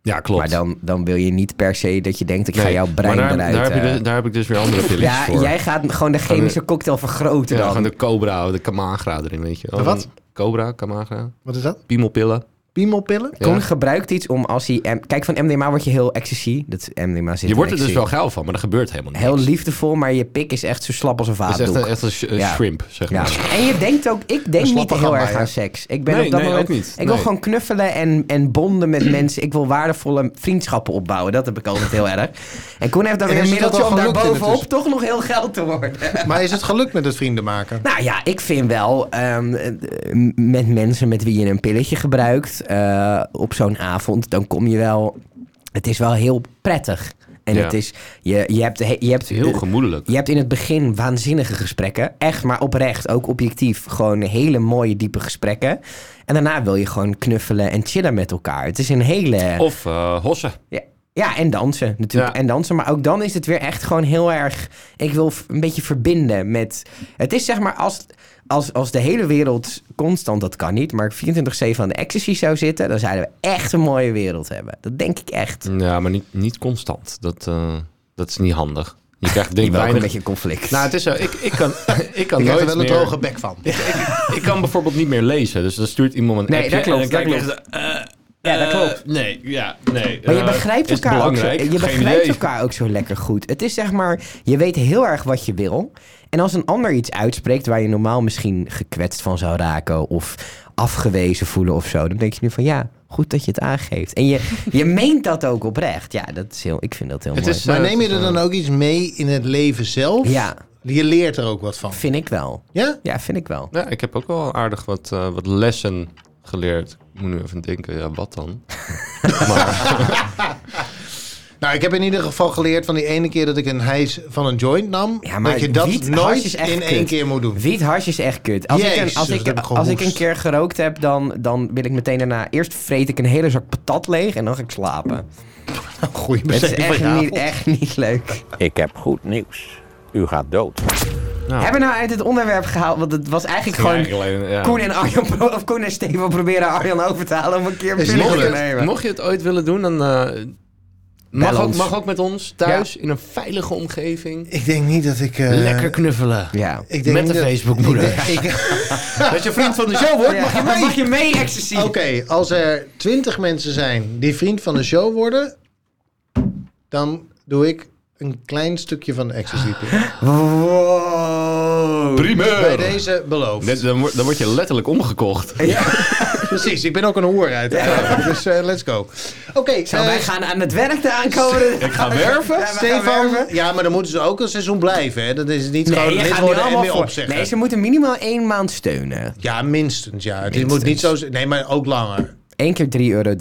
Speaker 3: Ja, klopt.
Speaker 1: Maar dan, dan wil je niet per se dat je denkt, ik ga
Speaker 3: Nee,
Speaker 1: jouw brein
Speaker 3: maar daar,
Speaker 1: eruit...
Speaker 3: Daar heb,
Speaker 1: eh,
Speaker 3: je dus, daar heb ik dus weer andere filmpjes
Speaker 1: Ja,
Speaker 3: voor.
Speaker 1: jij gaat gewoon de chemische cocktail vergroten
Speaker 3: ja,
Speaker 1: dan.
Speaker 3: gewoon de cobra, de kamagra erin, weet je. wel.
Speaker 2: De wat?
Speaker 3: Cobra, kamagra,
Speaker 2: wat is dat?
Speaker 3: piemelpillen.
Speaker 2: Piemelpillen?
Speaker 3: Ja.
Speaker 1: Koen gebruikt iets om als hij... em- Kijk, van MDMA word je heel ecstasy. Dat MDMA zit
Speaker 3: Je
Speaker 1: in
Speaker 3: wordt er dus
Speaker 1: ecstasy.
Speaker 3: wel geil van, maar dat gebeurt helemaal niet.
Speaker 1: Heel liefdevol, maar je pik is echt zo slap als een
Speaker 3: Het is echt een,
Speaker 1: vaatdoek.
Speaker 3: echt een sh- eh,
Speaker 1: Ja.
Speaker 3: shrimp, zeg
Speaker 1: Ja.
Speaker 3: maar.
Speaker 1: En je denkt ook, ik denk niet
Speaker 2: slappe
Speaker 1: heel
Speaker 2: gamba,
Speaker 1: erg
Speaker 2: ja.
Speaker 1: aan seks. Ik ben
Speaker 3: Nee,
Speaker 1: op dat
Speaker 3: nee,
Speaker 1: moment.
Speaker 3: ook niet.
Speaker 1: Ik wil
Speaker 3: Nee.
Speaker 1: gewoon knuffelen en, en bonden met mensen. Ik wil waardevolle vriendschappen opbouwen. Dat heb ik altijd heel erg. En Koen heeft dan
Speaker 2: En
Speaker 1: weer een
Speaker 2: is je dat
Speaker 1: middeltje om
Speaker 2: wel
Speaker 1: daar bovenop
Speaker 2: gelukt
Speaker 3: dus.
Speaker 2: intussen?
Speaker 1: toch nog heel geld te worden.
Speaker 2: Maar is het gelukt met het vrienden maken?
Speaker 1: Nou ja, ik vind wel ehm, eh, m- met mensen met wie je een pilletje gebruikt eh, op zo'n avond, dan kom je wel. Het is wel heel prettig. En
Speaker 3: Ja.
Speaker 1: het is, je, je hebt, he- je hebt eh,
Speaker 3: Heel gemoedelijk.
Speaker 1: je hebt in het begin waanzinnige gesprekken. Echt, maar oprecht, ook objectief. Gewoon hele mooie, diepe gesprekken. En daarna wil je gewoon knuffelen en chillen met elkaar. Het is een hele...
Speaker 3: Of eh, hossen.
Speaker 1: Ja, ja, en dansen natuurlijk.
Speaker 3: Ja.
Speaker 1: En dansen. Maar ook dan is het weer echt gewoon heel erg... Ik wil v- een beetje verbinden met... Het is zeg maar als, als, als de hele wereld constant, dat kan niet... maar 24-7 aan de ecstasy zou zitten... dan zouden we echt een mooie wereld hebben. Dat denk ik echt.
Speaker 3: Ja, maar niet, niet constant. Dat, eh, dat is niet handig. Je krijgt denk
Speaker 1: Die
Speaker 3: ik
Speaker 1: wel ook een
Speaker 3: weinig...
Speaker 1: beetje conflict.
Speaker 3: Nou, het is zo. Ik, ik kan, ik kan
Speaker 2: Ik heb
Speaker 3: nooit
Speaker 2: er wel een
Speaker 3: meer-
Speaker 2: droge bek van.
Speaker 3: Ik kan bijvoorbeeld niet meer lezen. Dus dan stuurt iemand een
Speaker 1: Nee,
Speaker 3: appje
Speaker 1: dat klopt,
Speaker 3: en dan
Speaker 1: dat
Speaker 3: kijk ik echt, eh,
Speaker 1: Ja, dat
Speaker 3: eh,
Speaker 1: klopt.
Speaker 3: nee, ja, nee.
Speaker 1: Maar je
Speaker 3: eh,
Speaker 1: begrijpt
Speaker 3: is het
Speaker 1: elkaar, ook zo,
Speaker 3: belangrijk?
Speaker 1: je
Speaker 3: Geen
Speaker 1: begrijpt
Speaker 3: idee.
Speaker 1: elkaar ook zo lekker goed. Het is zeg maar, je weet heel erg wat je wil. En als een ander iets uitspreekt waar je normaal misschien gekwetst van zou raken of afgewezen voelen of zo, dan denk je nu van ja, goed dat je het aangeeft. En je, je meent dat ook oprecht. Ja, dat is heel, ik vind dat heel
Speaker 3: Het
Speaker 1: mooi.
Speaker 3: is,
Speaker 2: Maar
Speaker 3: eh,
Speaker 2: neem je er dan ook iets mee in het leven zelf?
Speaker 1: Ja,
Speaker 2: Je leert er ook wat van.
Speaker 1: vind ik wel.
Speaker 2: Ja?
Speaker 1: Ja, vind ik wel.
Speaker 3: Ja, ik heb ook wel aardig wat, eh, wat lessen geleerd. Ik moet nu even denken, ja, wat dan?
Speaker 2: Nou, ik heb in ieder geval geleerd van die ene keer dat ik een hijs van een joint nam.
Speaker 1: Ja, maar
Speaker 2: dat je dat
Speaker 1: wiet, hars
Speaker 2: nooit
Speaker 1: is echt
Speaker 2: in
Speaker 1: kut.
Speaker 2: één keer moet doen.
Speaker 1: Wiet hash is echt kut. Als, ik,
Speaker 2: Jezus,
Speaker 1: een, als,
Speaker 2: dat
Speaker 1: ik,
Speaker 2: heb ik
Speaker 1: als ik een
Speaker 2: gehoest.
Speaker 1: keer gerookt heb, dan, dan wil ik meteen daarna... Eerst vreet ik een hele zak patat leeg en dan ga ik slapen.
Speaker 2: Goeie
Speaker 1: Het is
Speaker 2: bezetting
Speaker 1: echt
Speaker 2: van je
Speaker 1: niet,
Speaker 2: avond.
Speaker 1: echt niet leuk.
Speaker 4: Ik heb goed nieuws. U gaat dood.
Speaker 3: Nou,
Speaker 1: Hebben we nou uit het onderwerp gehaald? Want het was eigenlijk
Speaker 3: ja,
Speaker 1: gewoon
Speaker 3: eigenlijk alleen, ja.
Speaker 1: Koen en Arjan pro- of Koen en Stefan proberen Arjan over te halen om een keer een
Speaker 2: Is
Speaker 1: pilletje
Speaker 2: niet
Speaker 1: te
Speaker 2: gelukt.
Speaker 1: nemen.
Speaker 3: Mocht je het ooit willen doen, dan eh,
Speaker 1: Bel
Speaker 3: mag, ook,
Speaker 1: ons.
Speaker 3: mag ook met ons thuis in een veilige omgeving.
Speaker 2: Ik denk niet dat ik... eh,
Speaker 3: Lekker knuffelen.
Speaker 1: Ja.
Speaker 2: ik denk
Speaker 3: met
Speaker 2: niet
Speaker 3: de
Speaker 2: dat-
Speaker 3: Facebookmoeder.
Speaker 2: Ik denk- ik-
Speaker 3: Als je vriend van de show wordt,
Speaker 1: Ja,
Speaker 3: mag je
Speaker 1: mee?
Speaker 3: mee.
Speaker 1: Mag je mee, ecstasy?
Speaker 2: Oké, als er twintig mensen zijn die vriend van de show worden... dan doe ik een klein stukje van de ecstasy pil.
Speaker 1: Wow.
Speaker 2: Bij
Speaker 3: Primeur!
Speaker 2: deze beloofd.
Speaker 3: Net, dan, word, dan word je letterlijk omgekocht.
Speaker 2: Precies, ik ben ook een hoer uit. Dus eh, let's go. Oké,
Speaker 1: Nou,
Speaker 2: eh,
Speaker 1: wij gaan aan het werk de
Speaker 2: Oh,
Speaker 1: aankomende...
Speaker 3: Ik ga werven.
Speaker 1: Ja, we gaan
Speaker 2: Stefan,
Speaker 1: werven.
Speaker 2: ja, maar dan moeten ze ook een seizoen blijven. Hè? Dat is niet
Speaker 1: Nee,
Speaker 2: gewoon
Speaker 1: je
Speaker 2: lid
Speaker 1: gaat nu
Speaker 2: worden en
Speaker 1: allemaal
Speaker 2: weer
Speaker 1: voor.
Speaker 2: opzeggen.
Speaker 1: Nee, ze moeten minimaal één maand steunen.
Speaker 2: Ja, minstens. Ja. Het
Speaker 1: Minstens.
Speaker 2: moet niet zo. zijn- Nee, maar ook langer.
Speaker 1: Eén keer 3,33 euro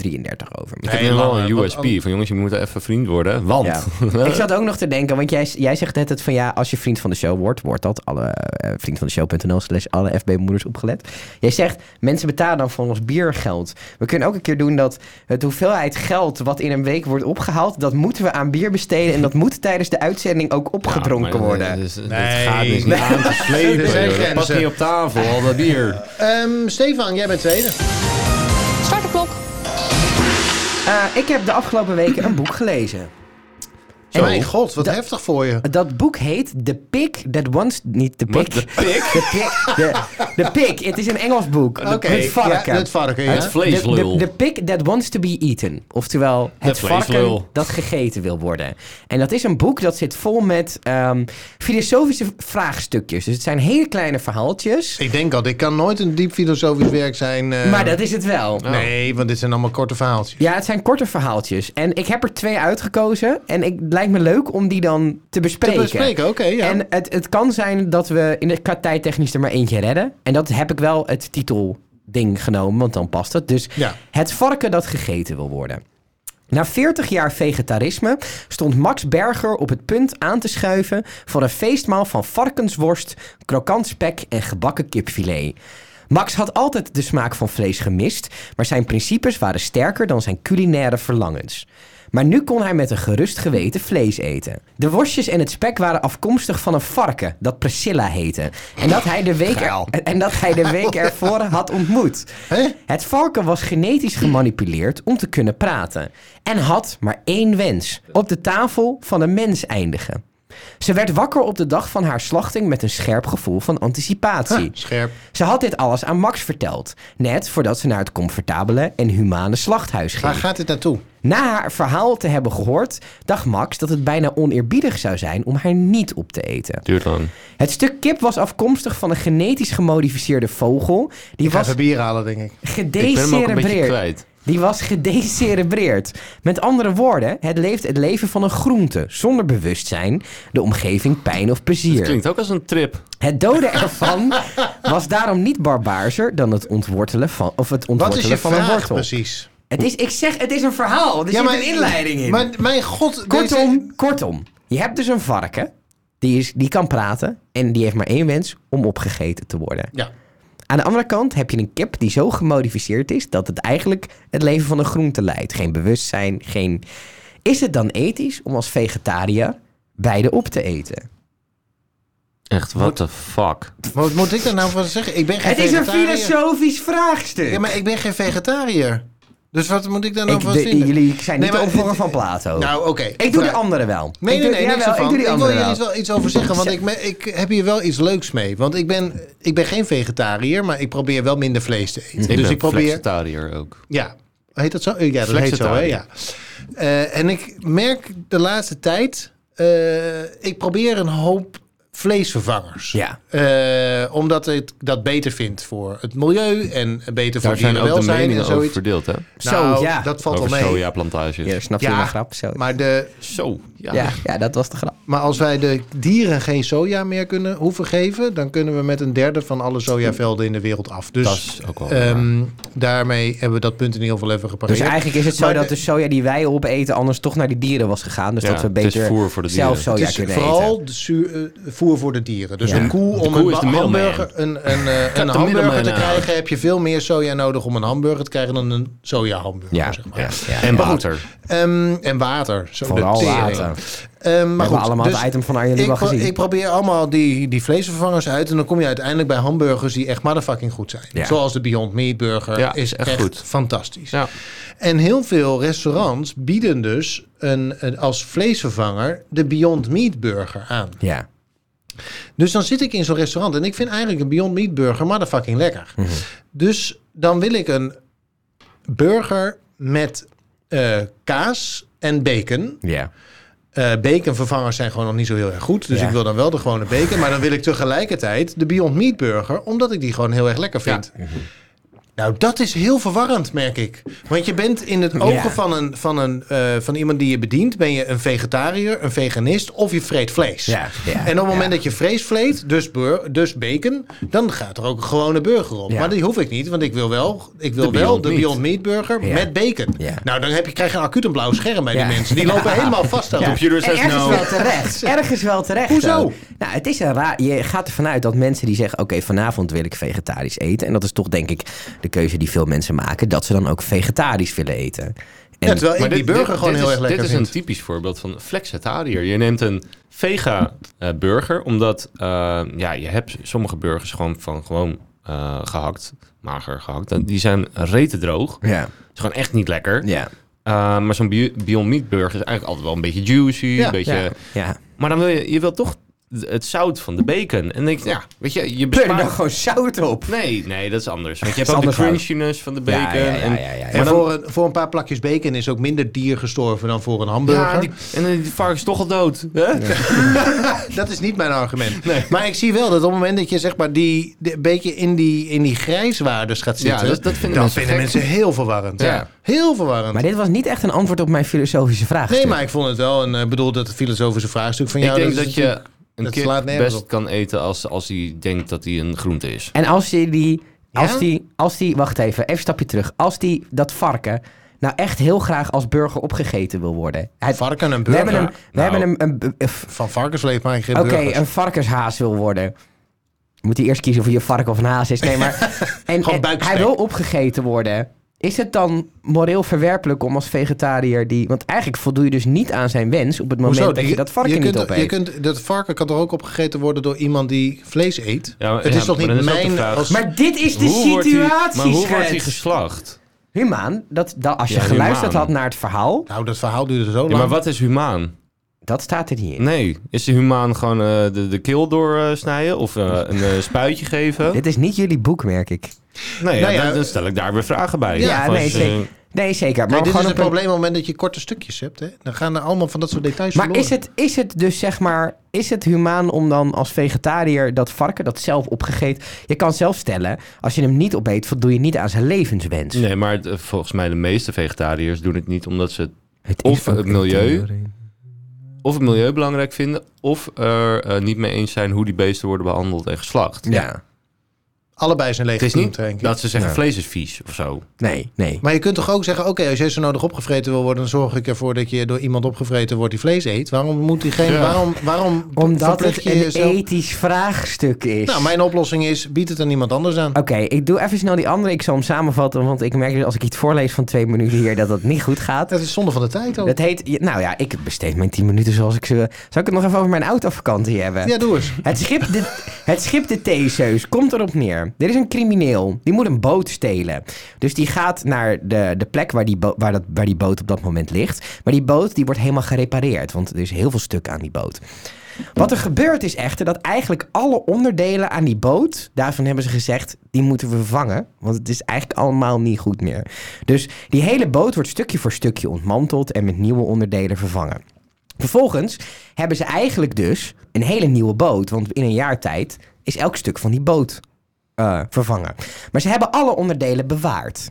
Speaker 1: over.
Speaker 3: Ik heb
Speaker 2: Nee,
Speaker 3: nu wel
Speaker 2: langer,
Speaker 3: een
Speaker 2: want
Speaker 3: USP van jongens, je moet even vriend worden, want...
Speaker 1: Ja. ik zat ook nog te denken, want jij, jij zegt net het van ja, als je vriend van de show wordt, wordt dat alle eh, vriendvandeshow.nl slash alle FB-moeders opgelet. Jij zegt, mensen betalen dan voor ons biergeld. We kunnen ook een keer doen dat het hoeveelheid geld wat in een week wordt opgehaald, dat moeten we aan bier besteden en dat moet tijdens de uitzending ook opgedronken
Speaker 3: maar,
Speaker 1: worden.
Speaker 3: eh, dus- dat
Speaker 2: Nee.
Speaker 3: gaat dus niet
Speaker 2: Nee.
Speaker 3: aan te slepen.
Speaker 2: Er zijn
Speaker 3: joh. Dat past
Speaker 2: grenzen.
Speaker 3: niet op tafel, al dat bier.
Speaker 2: Ehm, Stefan, jij bent tweede.
Speaker 5: Start de klok.
Speaker 1: Eh, ik heb de afgelopen weken een boek gelezen. Zo.
Speaker 2: Mijn god, wat
Speaker 1: Dat-
Speaker 2: heftig voor je.
Speaker 1: Dat boek heet The Pig That Once... Niet The Pig.
Speaker 3: What
Speaker 1: The
Speaker 3: the pik?
Speaker 1: Pig. The, The Pig. Het is een Engels boek.
Speaker 2: Oké,
Speaker 1: Het varken.
Speaker 2: Ja, het varken, ja.
Speaker 3: Het
Speaker 1: De, de,
Speaker 3: vleeslul.
Speaker 1: de pig that wants to be eaten. Oftewel, het varken
Speaker 3: vleeslul.
Speaker 1: dat gegeten wil worden. En dat is een boek dat zit vol met ehm, filosofische vraagstukjes. Dus het zijn hele kleine verhaaltjes.
Speaker 2: ik denk al, dit kan nooit een diep filosofisch werk zijn. eh,
Speaker 1: Maar dat is het wel.
Speaker 2: Nee, want dit zijn allemaal korte verhaaltjes.
Speaker 1: Ja, het zijn korte verhaaltjes. En ik heb er twee uitgekozen. En ik, het lijkt me leuk om die dan te
Speaker 2: Te
Speaker 1: bespreken.
Speaker 2: bespreken, oké, ja.
Speaker 1: En het, het kan zijn dat we in de qua tijdtechnisch er maar eentje redden. En dat heb ik wel het titelding genomen, want dan past het. Dus
Speaker 2: Ja.
Speaker 1: het varken dat gegeten wil worden. Na 40 jaar vegetarisme stond Max Berger op het punt aan te schuiven voor een feestmaal van varkensworst, krokant spek en gebakken kipfilet. Max had altijd de smaak van vlees gemist, maar zijn principes waren sterker dan zijn culinaire verlangens. Maar nu kon hij met een gerust geweten vlees eten. De worstjes en het spek waren afkomstig van een varken dat Priscilla heette. En dat hij de week, er, en dat hij de week ervoor had ontmoet.
Speaker 2: Hè?
Speaker 1: Het varken was genetisch gemanipuleerd om te kunnen praten. En had maar één wens: op de tafel van een mens eindigen. Ze werd wakker op de dag van haar slachting met een scherp gevoel van anticipatie.
Speaker 2: Ah, Scherp.
Speaker 1: Ze had dit alles aan Max verteld, net voordat ze naar het comfortabele en humane slachthuis ging.
Speaker 2: Waar gaat dit naartoe?
Speaker 1: Na haar verhaal te hebben gehoord, dacht Max dat het bijna oneerbiedig zou zijn om haar niet op te eten.
Speaker 3: Duurt lang.
Speaker 1: Het stuk kip was afkomstig van een genetisch gemodificeerde vogel. Die
Speaker 2: Ik ga
Speaker 1: was
Speaker 2: even bier halen, denk ik.
Speaker 3: Ik ben hem ook een beetje
Speaker 1: gedecerebreerd.
Speaker 3: kwijt.
Speaker 1: Die was gedecerebreerd. Met andere woorden, het leeft het leven van een groente, zonder bewustzijn, de omgeving pijn of
Speaker 3: Het
Speaker 1: plezier.
Speaker 3: klinkt ook als een trip.
Speaker 1: Het doden ervan was daarom niet barbaarser dan het ontwortelen van, of het
Speaker 2: Wat is
Speaker 1: ontwortelen
Speaker 2: je
Speaker 1: van een
Speaker 2: vraag
Speaker 1: wortel.
Speaker 2: precies?
Speaker 1: Het is, ik zeg, het is een verhaal. Er zit een inleiding in.
Speaker 2: Maar mijn god,
Speaker 1: kortom,
Speaker 2: deze-
Speaker 1: kortom, je hebt dus een varken, die, is, die kan praten en die heeft maar één wens om opgegeten te worden.
Speaker 2: Ja.
Speaker 1: Aan de andere kant heb je een kip die zo gemodificeerd is dat het eigenlijk het leven van een groente leidt. Geen bewustzijn, geen. Is het dan ethisch om als vegetariër beide op te eten?
Speaker 3: Echt, what the fuck?
Speaker 2: Wat moet ik daar nou van zeggen? Ik ben geen
Speaker 1: Het is een
Speaker 2: vegetariër.
Speaker 1: filosofisch vraagstuk.
Speaker 2: Ja, maar ik ben geen vegetariër. Dus wat moet ik daar nou
Speaker 1: Ik-
Speaker 2: van
Speaker 1: de-
Speaker 2: vinden?
Speaker 1: jullie zijn niet
Speaker 2: Nee,
Speaker 1: de
Speaker 2: maar-
Speaker 1: opvolger van Plato.
Speaker 2: Nou, oké.
Speaker 1: ik doe de
Speaker 2: Vraag.
Speaker 1: andere wel.
Speaker 2: Nee,
Speaker 1: ik
Speaker 2: nee,
Speaker 1: doe,
Speaker 2: nee, niks
Speaker 1: jawel,
Speaker 2: ervan.
Speaker 1: Ik doe die
Speaker 2: ik wil
Speaker 1: andere
Speaker 2: hier
Speaker 1: wel.
Speaker 2: iets, wel, iets over zeggen, want ik, me- ik heb hier wel iets leuks mee. Want ik ben, ik ben geen vegetariër, maar ik probeer wel minder vlees te eten.
Speaker 3: Ik
Speaker 2: dus
Speaker 3: ben
Speaker 2: ik probeer...
Speaker 3: flexitariër ook.
Speaker 2: Ja, heet dat zo? Eh, Ja, dat heet zo, hè? Ja. Eh, en ik merk de laatste tijd... eh, ik probeer een hoop vleesvervangers.
Speaker 1: Ja.
Speaker 2: Eh, omdat ik dat beter vind voor het milieu... en beter voor
Speaker 3: Daar zijn ook de
Speaker 2: dierenwelzijn en
Speaker 3: meningen over
Speaker 2: zoiets.
Speaker 3: verdeeld, hè?
Speaker 2: Nou,
Speaker 1: Zo, ja.
Speaker 2: dat valt
Speaker 3: over
Speaker 2: wel mee.
Speaker 3: sojaplantages.
Speaker 1: Ja, snap je
Speaker 2: Ja,
Speaker 1: mijn grap? Zo.
Speaker 2: Maar, de,
Speaker 3: Zo, ja.
Speaker 1: ja, ja, dat was de grap.
Speaker 2: maar als wij de dieren geen soja meer kunnen hoeven geven... dan kunnen we met een derde van alle sojavelden in de wereld af. Dus
Speaker 3: Dat is ook wel...
Speaker 2: ehm, daarmee hebben we dat punt in ieder geval even gepareerd.
Speaker 1: Dus eigenlijk is het zo
Speaker 2: Maar
Speaker 1: dat
Speaker 2: de-
Speaker 1: de soja die wij opeten anders toch naar die dieren was gegaan. Dus
Speaker 3: Ja,
Speaker 1: dat we
Speaker 3: het is
Speaker 1: beter
Speaker 3: voer voor de
Speaker 1: zelf
Speaker 3: dieren.
Speaker 1: soja
Speaker 2: het is
Speaker 1: Oh kunnen
Speaker 2: vooral
Speaker 1: eten.
Speaker 2: de zuur- eh, voer voor de dieren. Dus
Speaker 1: Ja.
Speaker 2: een koe om
Speaker 3: koe is de
Speaker 2: een
Speaker 3: middleman.
Speaker 2: hamburger, een, een, eh, een
Speaker 3: de
Speaker 2: hamburger
Speaker 3: middleman
Speaker 2: te
Speaker 3: aan.
Speaker 2: krijgen... heb je veel meer soja nodig om een hamburger te krijgen... dan een sojahamburger,
Speaker 1: Ja,
Speaker 2: zeg maar.
Speaker 1: ja, ja.
Speaker 3: en
Speaker 1: Maar goed,
Speaker 3: water.
Speaker 2: Ehm, en water. Zo
Speaker 1: Vooral
Speaker 2: de tering.
Speaker 1: water.
Speaker 2: Ehm, maar
Speaker 1: We
Speaker 2: goed,
Speaker 1: hebben allemaal
Speaker 2: dus
Speaker 1: het item van Arjen die
Speaker 2: ik,
Speaker 1: wel
Speaker 2: pro-
Speaker 1: gezien.
Speaker 2: ik probeer allemaal die, die vleesvervangers uit. En dan kom je uiteindelijk bij hamburgers die echt motherfucking goed zijn.
Speaker 1: Ja.
Speaker 2: Zoals de Beyond Meat Burger
Speaker 3: Ja,
Speaker 2: is echt,
Speaker 3: echt goed.
Speaker 2: fantastisch.
Speaker 3: Ja.
Speaker 2: En heel veel restaurants bieden dus een, een- als vleesvervanger de Beyond Meat Burger aan.
Speaker 1: Ja.
Speaker 2: Dus dan zit ik in zo'n restaurant en ik vind eigenlijk een Beyond Meat Burger motherfucking lekker. Dus dan wil ik een burger met eh, kaas en bacon.
Speaker 1: Ja.
Speaker 2: Eh, baconvervangers zijn gewoon nog niet zo heel erg goed. Dus
Speaker 1: Ja.
Speaker 2: ik wil dan wel de gewone bacon. Maar dan wil ik tegelijkertijd de Beyond Meat Burger. Omdat ik die gewoon heel erg lekker vind.
Speaker 1: Mhm.
Speaker 2: Nou, dat is heel verwarrend, merk ik. Want je bent in het ogen
Speaker 1: Ja.
Speaker 2: van, een, van, een, eh, van iemand die je bedient... ben je een vegetariër, een veganist of je vreet vlees.
Speaker 1: Ja, ja,
Speaker 2: en op het moment
Speaker 1: ja.
Speaker 2: dat je vlees vreet, dus, bur- dus bacon... dan gaat er ook een gewone burger op.
Speaker 1: Ja.
Speaker 2: Maar die hoef ik niet, want ik wil wel, ik wil wel
Speaker 3: De Beyond
Speaker 2: de
Speaker 3: Meat.
Speaker 2: Beyond Meat Burger
Speaker 1: Ja.
Speaker 2: met bacon.
Speaker 1: Ja.
Speaker 2: Nou, dan heb je, krijg je acuut een blauw scherm bij
Speaker 1: Ja.
Speaker 2: die mensen. Die lopen helemaal vast aan
Speaker 3: Ja.
Speaker 2: de
Speaker 3: Computer
Speaker 1: En
Speaker 3: says
Speaker 1: ergens
Speaker 3: no.
Speaker 1: wel terecht. Ergens wel terecht.
Speaker 2: nou- Hoezo?
Speaker 1: ook. Nou, het is een raar. Je gaat ervan uit dat mensen die zeggen: Oké, vanavond wil ik vegetarisch eten. En dat is toch, denk ik, de keuze die veel mensen maken. Dat ze dan ook vegetarisch willen eten. En,
Speaker 2: Ja, terwijl ik die burger gewoon heel
Speaker 3: is,
Speaker 2: erg lekker
Speaker 3: Dit is
Speaker 2: vind.
Speaker 3: een typisch voorbeeld van flexitariër. Je neemt een vega-burger, omdat eh, ja, je hebt sommige burgers gewoon van gewoon eh, gehakt, mager gehakt. En Die zijn rete droog.
Speaker 1: ja,
Speaker 3: is gewoon echt niet lekker.
Speaker 1: ja.
Speaker 3: Eh, maar zo'n Bio- Beyond Meat burger is eigenlijk altijd wel een beetje juicy.
Speaker 2: Ja.
Speaker 3: een beetje,
Speaker 1: Ja. ja.
Speaker 3: Maar dan wil je, je wil toch het zout van de bacon. En dan denk je, ja, weet je, je
Speaker 1: Pleur er dan
Speaker 3: bespaart...
Speaker 1: gewoon zout op.
Speaker 3: Nee, nee, dat is anders. Want je
Speaker 1: is
Speaker 3: hebt ook de
Speaker 1: ander zout.
Speaker 3: crunchiness van de bacon.
Speaker 1: ja, ja, ja,
Speaker 3: en-
Speaker 1: ja, ja.
Speaker 2: En
Speaker 3: Maar dan-
Speaker 2: voor, een, voor een paar plakjes bacon is ook minder dier gestorven dan voor een hamburger.
Speaker 3: Ja, die- en dan die varkens toch al dood. Hè?
Speaker 2: Dat is niet mijn argument. Maar ik zie wel dat op het moment dat je zeg maar die, die- een beetje in die, in die grijswaardes gaat
Speaker 3: Ja,
Speaker 2: zitten,
Speaker 3: dat- dat vinden
Speaker 2: dan
Speaker 3: mensen
Speaker 2: vinden
Speaker 3: gek.
Speaker 2: mensen heel verwarrend.
Speaker 3: Ja.
Speaker 2: Heel verwarrend.
Speaker 1: Maar dit was niet echt een antwoord op mijn filosofische vraag.
Speaker 2: nee, maar ik vond het wel een, eh, bedoel dat filosofische vraagstuk van
Speaker 3: ik
Speaker 2: jou.
Speaker 3: denk
Speaker 2: is
Speaker 3: dat, je
Speaker 2: natuurlijk-
Speaker 3: een
Speaker 2: dat
Speaker 3: kip
Speaker 2: slaat nergens
Speaker 3: best
Speaker 2: op.
Speaker 3: kan eten als, als hij denkt dat hij een groente is.
Speaker 1: En als die, die, als,
Speaker 2: Ja?
Speaker 1: die, als die, wacht even, even een stapje terug. Als die, dat varken, nou echt heel graag als burger opgegeten wil worden. Het-
Speaker 2: varken en
Speaker 1: we
Speaker 2: burger.
Speaker 1: hebben hem, we
Speaker 3: Nou.
Speaker 1: hebben hem een, een- een-
Speaker 2: Van varkensvlees maak ik geen
Speaker 1: Oké,
Speaker 2: burgers.
Speaker 1: een varkenshaas wil worden. Moet hij eerst kiezen of hij een varken of een haas is. Nee, maar en,
Speaker 2: Gewoon
Speaker 1: en
Speaker 2: buikstek.
Speaker 1: hij wil opgegeten worden. Is het dan moreel verwerpelijk om als vegetariër die... Want eigenlijk voldoe je dus niet aan zijn wens op het moment dat je dat varken
Speaker 2: je kunt,
Speaker 1: niet
Speaker 2: Je
Speaker 1: opeet.
Speaker 2: kunt, dat varken kan toch ook opgegeten worden door iemand die vlees eet?
Speaker 3: Ja, maar-
Speaker 2: het
Speaker 3: ja,
Speaker 2: is toch
Speaker 3: maar
Speaker 2: niet
Speaker 3: dan is ook de
Speaker 2: mijn...
Speaker 3: vraag-
Speaker 2: als-
Speaker 1: Maar dit is de
Speaker 3: wordt hij- maar
Speaker 1: situatie,
Speaker 3: hoe wordt hij
Speaker 1: schets.
Speaker 3: geslacht?
Speaker 1: Humaan, dat, dat, als je
Speaker 3: Ja,
Speaker 1: geluisterd
Speaker 3: humaan.
Speaker 1: had naar het verhaal,
Speaker 2: nou, dat verhaal duurde zo lang.
Speaker 3: Ja, maar wat is humaan?
Speaker 1: dat staat er niet in.
Speaker 3: Nee, is de humaan gewoon eh, de, de keel doorsnijden of eh, een eh, spuitje geven?
Speaker 1: Dit is niet jullie boek, merk ik.
Speaker 3: Nee, ja,
Speaker 2: Nou ja,
Speaker 3: dan, dan stel ik daar weer vragen bij.
Speaker 1: Ja,
Speaker 3: Van,
Speaker 1: nee,
Speaker 3: eh,
Speaker 1: zeker. Nee, zeker. Maar,
Speaker 2: Kijk, dit is
Speaker 1: gewoon op
Speaker 2: het
Speaker 1: een-
Speaker 2: probleem op het moment dat je korte stukjes hebt. Hè? Dan gaan er allemaal van dat soort details
Speaker 1: maar is
Speaker 2: verloren.
Speaker 1: het, is het dus zeg maar, is het humaan om dan als vegetariër dat varken dat zelf opgegeten? Je kan zelf stellen, als je hem niet opeet, voldoe je niet aan zijn levenswens.
Speaker 3: Nee, maar het, eh, volgens mij de meeste vegetariërs doen het niet omdat ze
Speaker 1: Het
Speaker 3: Of
Speaker 1: ook
Speaker 3: het
Speaker 1: een
Speaker 3: milieu.
Speaker 1: theorie.
Speaker 3: of het milieu belangrijk vinden of er eh, niet mee eens zijn hoe die beesten worden behandeld en geslacht.
Speaker 1: Ja.
Speaker 2: Allebei zijn
Speaker 3: Het is
Speaker 2: legitiem,
Speaker 3: niet
Speaker 2: denk ik.
Speaker 3: dat ze zeggen
Speaker 1: Ja.
Speaker 3: vlees is vies of zo.
Speaker 1: Nee, nee.
Speaker 2: Maar je kunt toch ook zeggen, oké, als jij zo nodig opgevreten wil worden... dan zorg ik ervoor dat je door iemand opgevreten wordt die vlees eet. Waarom moet diegene...
Speaker 3: Ja.
Speaker 2: Waarom, waarom
Speaker 1: Omdat
Speaker 2: verplicht
Speaker 1: het
Speaker 2: je
Speaker 1: een
Speaker 2: jezelf-
Speaker 1: ethisch vraagstuk is.
Speaker 2: Nou, mijn oplossing is, bied het aan iemand anders aan.
Speaker 1: Oké, ik doe even snel die andere. Ik zal hem samenvatten, want ik merk dat als ik iets voorlees van twee minuten hier, dat dat niet goed gaat.
Speaker 2: Dat is zonde van de tijd ook.
Speaker 1: Dat heet, je- nou ja, ik besteed mijn 10 minuten zoals ik ze. Zou ik het nog even over mijn autovakantie hebben?
Speaker 2: Ja, doe eens.
Speaker 1: Het schip, de, het schip de Theseus komt erop neer. Er is een crimineel. Die moet een boot stelen. Dus die gaat naar de, de plek waar die, bo- waar, dat, waar die boot op dat moment ligt. Maar die boot die wordt helemaal gerepareerd. Want er is heel veel stuk aan die boot. Wat er gebeurd is echter dat eigenlijk alle onderdelen aan die boot, daarvan hebben ze gezegd, die moeten we vervangen. Want het is eigenlijk allemaal niet goed meer. Dus die hele boot wordt stukje voor stukje ontmanteld en met nieuwe onderdelen vervangen. Vervolgens hebben ze eigenlijk dus een hele nieuwe boot. Want in een jaar tijd is elk stuk van die boot eh, vervangen. Maar ze hebben alle onderdelen bewaard.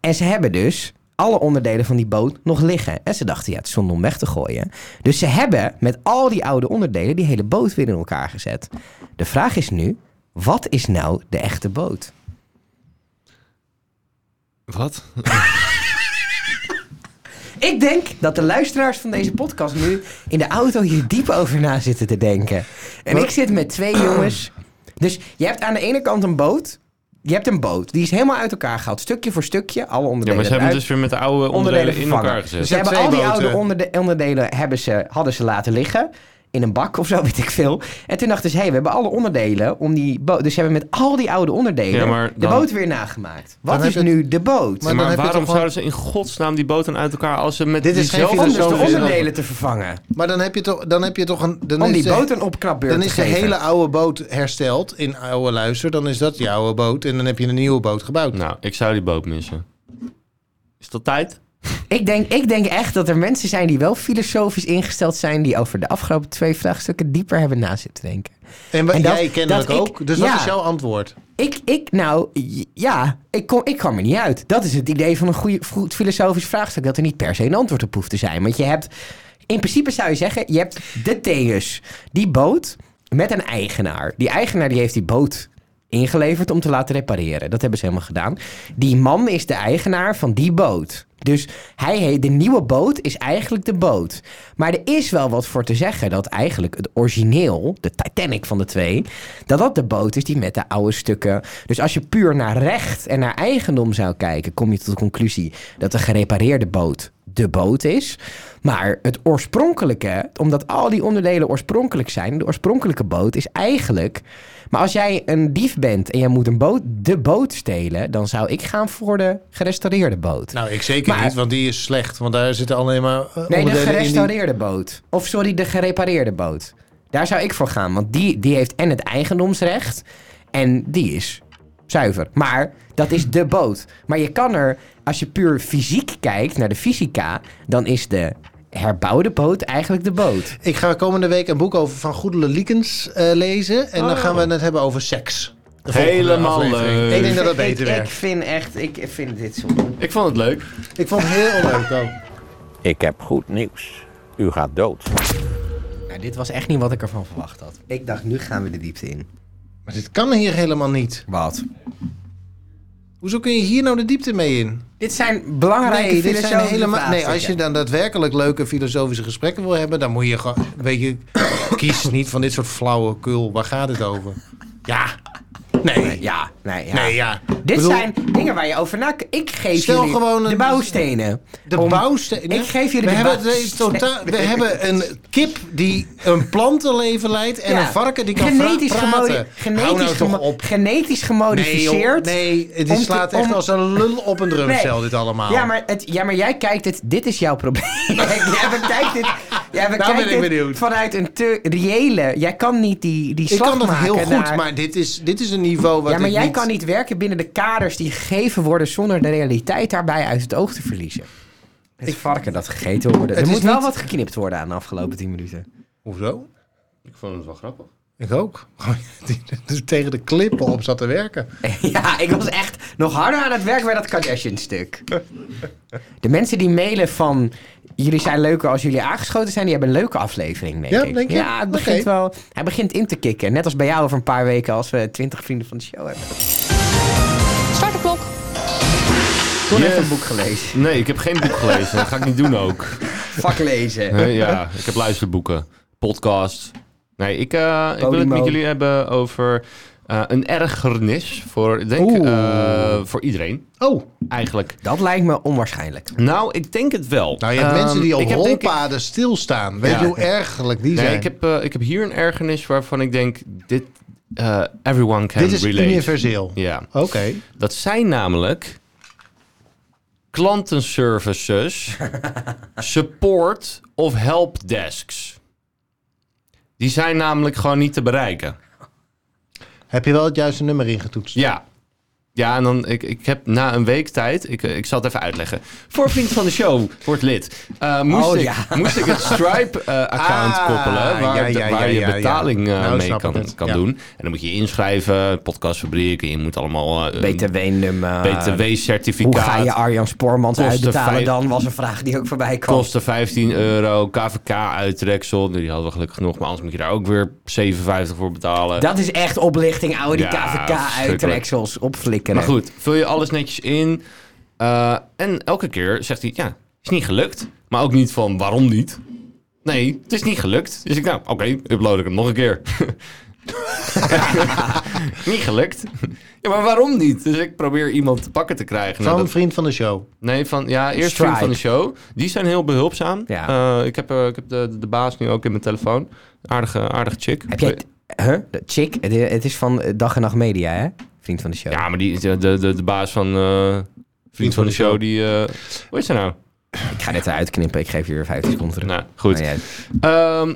Speaker 1: En ze hebben dus alle onderdelen van die boot nog liggen. En ze dachten, ja, het is zonde om weg te gooien. Dus ze hebben met al die oude onderdelen die hele boot weer in elkaar gezet. De vraag is nu, wat is nou de echte boot?
Speaker 3: Wat?
Speaker 1: Ik denk dat de luisteraars van deze podcast nu in de auto hier diep over na zitten te denken. En ik zit met twee jongens. Dus je hebt aan de ene kant een boot. Je hebt een boot. Die is helemaal uit elkaar gehaald. Stukje voor stukje. Alle
Speaker 3: Ja,
Speaker 1: onderdelen.
Speaker 3: maar ze hebben
Speaker 1: eruit.
Speaker 3: dus weer met de oude onderdelen,
Speaker 1: onderdelen
Speaker 3: in
Speaker 1: vervangen.
Speaker 3: elkaar gezet.
Speaker 2: Dus
Speaker 1: Ze
Speaker 2: je hebt
Speaker 1: hebben al die
Speaker 2: twee
Speaker 1: oude
Speaker 2: boten.
Speaker 1: onderde- onderdelen hebben ze, hadden ze laten liggen. In een bak of zo, weet ik veel. En toen dachten ze, hé, hey, we hebben alle onderdelen om die boot. Dus ze hebben met al die oude onderdelen
Speaker 3: Ja, maar
Speaker 1: de
Speaker 3: dan-
Speaker 1: boot weer nagemaakt.
Speaker 2: Dan
Speaker 1: Wat
Speaker 2: heb
Speaker 1: is
Speaker 2: je-
Speaker 1: nu de boot?
Speaker 2: Maar
Speaker 3: Maar,
Speaker 2: dan heb je
Speaker 3: waarom
Speaker 2: toch
Speaker 3: zouden ze in godsnaam die boot dan uit elkaar als ze met
Speaker 2: Dit is geen
Speaker 3: diezelfde
Speaker 1: om dus de
Speaker 2: filosofische-
Speaker 1: onderdelen te vervangen.
Speaker 2: Maar dan heb je toch, dan heb je toch een... Dan
Speaker 1: Om
Speaker 2: is
Speaker 1: die
Speaker 2: de-
Speaker 1: boot een opknapbeurt
Speaker 2: Dan
Speaker 1: te
Speaker 2: is de
Speaker 1: geven.
Speaker 2: hele oude boot hersteld in oude luister. Dan is dat je oude boot. En dan heb je een nieuwe boot gebouwd.
Speaker 3: Nou, ik zou die boot missen. Is dat tijd?
Speaker 1: Ik denk, ik denk echt dat er mensen zijn die wel filosofisch ingesteld zijn... die over de afgelopen twee vraagstukken dieper hebben na zitten denken.
Speaker 2: En, wa-
Speaker 1: En dat-
Speaker 2: jij kennelijk
Speaker 1: dat ik-
Speaker 2: ook. Dus
Speaker 1: ja.
Speaker 2: wat is jouw antwoord?
Speaker 1: Ik, ik nou, j- ja, ik, kom, ik kwam er niet uit. Dat is het idee van een goede, goed filosofisch vraagstuk... dat er niet per se een antwoord op hoeft te zijn. Want je hebt, in principe zou je zeggen... je hebt de Theus, die boot met een eigenaar. Die eigenaar die heeft die boot ingeleverd om te laten repareren. Dat hebben ze helemaal gedaan. Die man is de eigenaar van die boot. Dus hij heet, de nieuwe boot is eigenlijk de boot. Maar er is wel wat voor te zeggen dat eigenlijk het origineel, de Titanic van de twee, dat dat de boot is die met de oude stukken. Dus als je puur naar recht en naar eigendom zou kijken, kom je tot de conclusie dat de gerepareerde boot de boot is. Maar het oorspronkelijke, omdat al die onderdelen oorspronkelijk zijn, de oorspronkelijke boot is eigenlijk. Maar als jij een dief bent en jij moet een boot, de boot stelen, dan zou ik gaan voor de gerestaureerde boot.
Speaker 2: Nou, ik zeker. Zeker
Speaker 1: Maar-
Speaker 2: niet, want die is slecht. Want daar zitten alleen maar eh,
Speaker 1: Nee, de
Speaker 2: onderdelen in die-
Speaker 1: gerestaureerde boot. Of sorry, de gerepareerde boot. Daar zou ik voor gaan, want die, die heeft en het eigendomsrecht en die is zuiver. Maar dat is de boot. Maar je kan er, als je puur fysiek kijkt naar de fysica, dan is de herbouwde boot eigenlijk de boot.
Speaker 2: Ik ga komende week een boek over Van Goedele Liekens eh, lezen. En dan gaan we het hebben over seks. De volgende
Speaker 3: Helemaal
Speaker 2: aflevering.
Speaker 3: leuk.
Speaker 2: Ik denk dat dat
Speaker 1: Ik-
Speaker 2: beter
Speaker 1: ik, ik
Speaker 2: werkt.
Speaker 1: vind echt, ik vind dit zo.
Speaker 3: Ik vond het leuk.
Speaker 2: Ik vond het heel leuk ook.
Speaker 4: Ik heb goed nieuws. U gaat dood.
Speaker 1: Nou, dit was echt niet wat ik ervan verwacht had. Ik dacht, nu gaan we de diepte in.
Speaker 2: Maar dit kan hier helemaal niet.
Speaker 1: Wat?
Speaker 2: Hoezo kun je hier nou de diepte mee in?
Speaker 1: Dit zijn belangrijke
Speaker 2: Nee, dit zijn
Speaker 1: filosofische
Speaker 2: helemaal. Nee, als je
Speaker 1: vraagstukken.
Speaker 2: dan daadwerkelijk leuke filosofische gesprekken wil hebben, dan moet je gewoon. Weet je, kies niet van dit soort flauwekul. Waar gaat het over? Ja. Nee.
Speaker 1: Ja, nee, ja.
Speaker 2: Nee, ja.
Speaker 1: Dit
Speaker 2: Ik bedoel,
Speaker 1: zijn dingen waar je over na... Ik geef
Speaker 2: Stel
Speaker 1: jullie
Speaker 2: gewoon een-
Speaker 1: de bouwstenen.
Speaker 2: De
Speaker 1: Om-
Speaker 2: bouwstenen.
Speaker 1: Ik geef jullie
Speaker 2: we
Speaker 1: de
Speaker 2: hebben
Speaker 1: bouwstenen.
Speaker 2: het eh, totaal. We hebben een kip die een plantenleven leidt en
Speaker 1: Ja.
Speaker 2: een varken die kan
Speaker 1: genetisch
Speaker 2: vra-
Speaker 1: gemodi-
Speaker 2: praten.
Speaker 1: Genetisch,
Speaker 2: Hou nou
Speaker 1: gemo-
Speaker 2: toch op.
Speaker 1: genetisch
Speaker 2: Nee, joh.
Speaker 1: gemodificeerd.
Speaker 2: nee,
Speaker 1: om
Speaker 2: dit
Speaker 1: te-
Speaker 2: slaat echt
Speaker 1: om-
Speaker 2: als een lul op een drumcel,
Speaker 1: Nee.
Speaker 2: dit allemaal.
Speaker 1: Ja maar, het, ja, maar jij kijkt het... Dit is jouw probleem. jij bekijkt dit... Jij bekijkt
Speaker 2: Nou ben ik
Speaker 1: dit
Speaker 2: benieuwd.
Speaker 1: vanuit een te reële... Jij kan niet die, die
Speaker 2: ik
Speaker 1: slag
Speaker 2: kan dat
Speaker 1: maken
Speaker 2: heel goed,
Speaker 1: naar-
Speaker 2: maar dit is, dit is een niveau wat
Speaker 1: Ja, maar
Speaker 2: ik
Speaker 1: jij
Speaker 2: niet...
Speaker 1: kan niet werken binnen de kaders die gegeven worden... zonder de realiteit daarbij uit het oog te verliezen. Het varken dat gegeten wil worden.
Speaker 2: Het
Speaker 1: Er
Speaker 2: is
Speaker 1: moet wel
Speaker 2: niet-
Speaker 1: wat geknipt worden aan de afgelopen 10 minuten.
Speaker 2: Hoezo?
Speaker 3: Ik vond het wel grappig.
Speaker 2: Ik ook. Die- die Tegen de klippen op zat te werken.
Speaker 1: Ja, ik was echt nog harder aan het werk bij dat Kardashian-stuk. De mensen die mailen van... Jullie zijn leuker als jullie aangeschoten zijn. Die hebben een leuke aflevering, denk
Speaker 2: Ja,
Speaker 1: ik.
Speaker 2: denk je?
Speaker 1: Ja, het begint
Speaker 2: Oké.
Speaker 1: wel... Hij begint in te kicken. Net als bij jou over een paar weken als we twintig vrienden van de show hebben.
Speaker 5: Start de klok.
Speaker 1: Toen
Speaker 3: Yes.
Speaker 1: heb een boek gelezen.
Speaker 3: Nee, ik heb geen boek gelezen. Dat ga ik niet doen ook.
Speaker 1: Fuck lezen.
Speaker 3: Nee, ja, ik heb luisterboeken. Podcast. Nee, ik, eh, ik wil het
Speaker 1: Podimo.
Speaker 3: met jullie hebben over eh, een ergernis voor, ik denk,
Speaker 1: Oeh.
Speaker 3: eh, voor iedereen.
Speaker 2: Oh,
Speaker 3: Eigenlijk.
Speaker 1: Dat lijkt me onwaarschijnlijk.
Speaker 3: Nou, ik denk het wel.
Speaker 2: nou je hebt
Speaker 3: Ehm,
Speaker 2: mensen die op
Speaker 3: ik heb denk ik-
Speaker 2: rolpaden stilstaan. Weet
Speaker 3: Ja.
Speaker 2: je hoe ergerlijk die
Speaker 3: Nee,
Speaker 2: zijn?
Speaker 3: ik heb, eh, ik heb hier een ergernis waarvan ik denk, dit, eh, everyone can
Speaker 2: Dit is
Speaker 3: relate.
Speaker 2: universeel.
Speaker 3: Ja,
Speaker 2: Oké.
Speaker 3: dat zijn namelijk klantenservices, support of helpdesks. Die zijn namelijk gewoon niet te bereiken.
Speaker 2: Heb je wel het juiste nummer ingetoetst?
Speaker 3: Ja. Ja, en dan, ik, ik heb na een week tijd, ik, eh, ik zal het even uitleggen. Voor vriend van de show, wordt lid. Eh, moest,
Speaker 1: Oh,
Speaker 3: ik,
Speaker 1: ja.
Speaker 3: moest ik het Stripe-account
Speaker 2: Ah,
Speaker 3: koppelen, waar,
Speaker 2: ja,
Speaker 3: de-
Speaker 2: ja,
Speaker 3: waar
Speaker 2: ja, ja,
Speaker 3: je
Speaker 2: ja.
Speaker 3: betaling eh,
Speaker 2: Nou,
Speaker 3: mee
Speaker 2: snap ik
Speaker 3: kan,
Speaker 2: het.
Speaker 3: kan
Speaker 2: Ja.
Speaker 3: doen. En dan moet je je inschrijven, podcastfabriek, en je moet allemaal eh, een
Speaker 1: BTW-nummer.
Speaker 2: eh,
Speaker 1: Hoe
Speaker 3: BTW-certificaat.
Speaker 1: ga je Arjan Spoormans
Speaker 3: Kosten
Speaker 1: uitbetalen
Speaker 3: vijf-
Speaker 1: dan? Was een vraag die ook voorbij kwam.
Speaker 3: Kosten 15 euro, KVK-uittreksel, die hadden we gelukkig nog, maar anders moet je daar ook weer 57 voor betalen.
Speaker 1: Dat is echt oplichting, oude
Speaker 3: Ja, verschrikkelijk.
Speaker 1: KVK-uittreksels opflikkeren.
Speaker 3: Maar goed, vul je alles netjes in. Eh, en elke keer zegt hij, ja, is niet gelukt. Maar ook niet van, waarom niet? Nee, het is niet gelukt. Dus ik, nou, oké, upload ik hem nog een keer. niet gelukt. Ja, maar waarom niet? Dus ik probeer iemand te pakken te krijgen.
Speaker 2: Van
Speaker 3: Nou, dat-
Speaker 2: vriend van de show.
Speaker 3: Nee, van ja, eerst
Speaker 1: Stripe.
Speaker 3: vriend van de show. Die zijn heel behulpzaam.
Speaker 1: Ja.
Speaker 3: Eh, ik heb, eh, ik heb de, de baas nu ook in mijn telefoon. Aardige, aardige chick.
Speaker 1: Heb jij... Huh? De Chick? Het i- Het is van eh, Dag en Nacht Media, hè? Vriend van de show.
Speaker 3: Ja, maar die, de, de, de baas van eh, vriend, van, de, show, die... eh, hoe is ze nou?
Speaker 1: Ik ga dit eruit knippen. Ik geef je weer 15 seconden terug.
Speaker 3: Nou, goed.
Speaker 1: Maar jij-
Speaker 3: Ehm,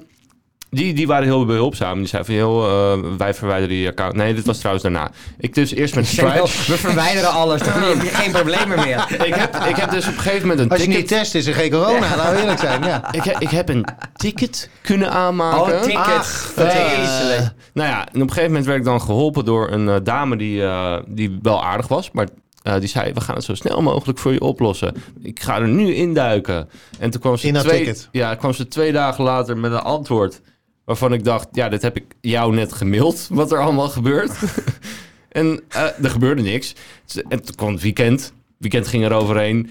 Speaker 3: die, die waren heel behulpzaam. Die zeiden van, joh, eh, wij verwijderen je account. Nee, dit was trouwens daarna. Ik dus eerst met Stripe.
Speaker 1: We verwijderen alles. dus Dan heb je geen problemen meer.
Speaker 3: ik, heb, ik heb dus op een gegeven moment een
Speaker 2: Als je
Speaker 3: ticket...
Speaker 2: niet test, is er geen corona. Laten we eerlijk zijn. Ja.
Speaker 3: ik, heb, ik heb een ticket kunnen aanmaken.
Speaker 1: Oh, tickets.
Speaker 2: Ach,
Speaker 1: Vreselijk.
Speaker 3: Eh, nou ja, en op een gegeven moment werd ik dan geholpen door een eh, dame die, eh, die wel aardig was, maar eh, die zei, we gaan het zo snel mogelijk voor je oplossen. Ik ga er nu induiken. En toen kwam ze,
Speaker 2: In dat
Speaker 3: twee,
Speaker 2: ticket.
Speaker 3: Ja, kwam ze twee dagen later met een antwoord waarvan ik dacht, ja, dit heb ik jou net gemaild, wat er allemaal gebeurt. en eh, er gebeurde niks. En toen kwam het weekend. Weekend ging er overheen.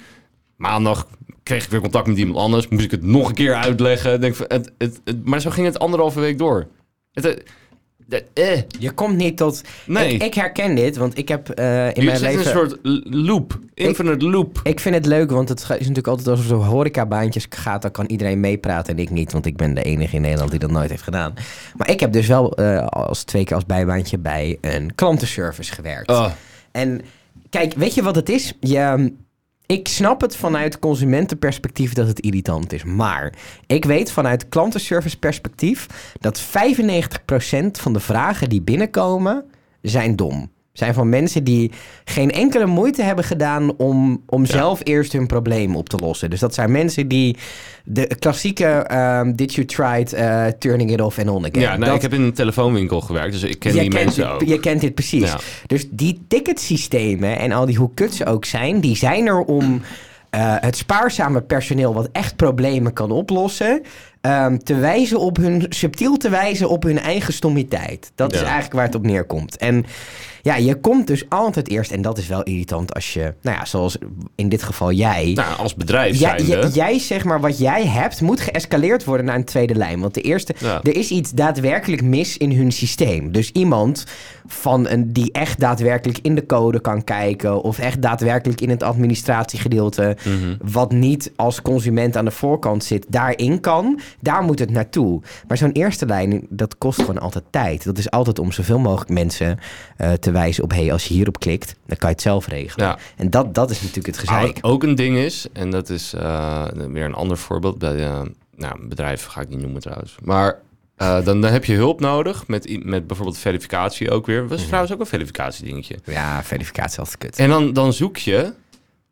Speaker 3: Maandag kreeg ik weer contact met iemand anders. Moest ik het nog een keer uitleggen. Denk van, het, het, het- maar zo ging het anderhalve week door. Het, eh, de- eh.
Speaker 1: Je komt niet tot...
Speaker 3: Nee.
Speaker 1: Ik, ik herken dit, want ik heb eh, in
Speaker 3: Je
Speaker 1: mijn
Speaker 3: zit in
Speaker 1: leven...
Speaker 3: een soort l- loop. Infinite loop.
Speaker 1: Ik vind het leuk, want het is natuurlijk altijd als het over horecabaantjes gaat, dan kan iedereen meepraten en ik niet, want ik ben de enige in Nederland die dat nooit heeft gedaan. Maar ik heb dus wel eh, als twee keer als bijbaantje bij een klantenservice gewerkt.
Speaker 3: Oh,
Speaker 1: En kijk, weet je wat het is? Je, Ik snap het vanuit consumentenperspectief dat het irritant is. Maar ik weet vanuit klantenservice perspectief dat 95% van de vragen die binnenkomen zijn dom. Zijn van mensen die geen enkele moeite hebben gedaan om, om zelf eerst hun probleem op te lossen. Dus dat zijn mensen die de klassieke ehm, did you tried eh, turning it off and on again.
Speaker 3: Ja, nou,
Speaker 1: Dat-
Speaker 3: ik heb in een telefoonwinkel gewerkt, dus ik ken die
Speaker 1: kent
Speaker 3: mensen
Speaker 1: dit-
Speaker 3: ook.
Speaker 1: Je kent dit precies.
Speaker 3: Ja.
Speaker 1: Dus die ticketsystemen en al die hoe kut ze ook zijn, die zijn er om eh, het spaarzame personeel wat echt problemen kan oplossen, ehm, te wijzen op hun, subtiel te wijzen op hun eigen stommiteit. Dat is
Speaker 3: Ja.
Speaker 1: eigenlijk waar het op neerkomt. En ja, je komt dus altijd eerst, en dat is wel irritant als je, nou ja, zoals in dit geval jij,
Speaker 3: Nou, als bedrijf
Speaker 1: Jij,
Speaker 3: zijnde.
Speaker 1: jij, jij, zeg maar, wat jij hebt, moet geëscaleerd worden naar een tweede lijn. Want de eerste,
Speaker 3: Ja.
Speaker 1: er is iets daadwerkelijk mis in hun systeem. Dus iemand van een, die echt daadwerkelijk in de code kan kijken... of echt daadwerkelijk in het administratiegedeelte...
Speaker 3: Mhm.
Speaker 1: wat niet als consument aan de voorkant zit, daarin kan. Daar moet het naartoe. Maar zo'n eerste lijn, dat kost gewoon altijd tijd. Dat is altijd om zoveel mogelijk mensen eh, te wijzen op... hé, hey, als je hierop klikt, dan kan je het zelf regelen.
Speaker 3: Ja.
Speaker 1: En dat, dat is natuurlijk het
Speaker 3: Ah,
Speaker 1: gezeik.
Speaker 3: wat ook een ding is, en dat is eh, weer een ander voorbeeld bij eh, nou, een bedrijf, ga ik niet noemen trouwens. Maar eh, dan, dan heb je hulp nodig met, i- met bijvoorbeeld verificatie ook weer. Dat
Speaker 1: Mhm.
Speaker 3: was trouwens ook een verificatiedingetje.
Speaker 1: Ja, verificatie is altijd kut.
Speaker 3: En dan, dan zoek je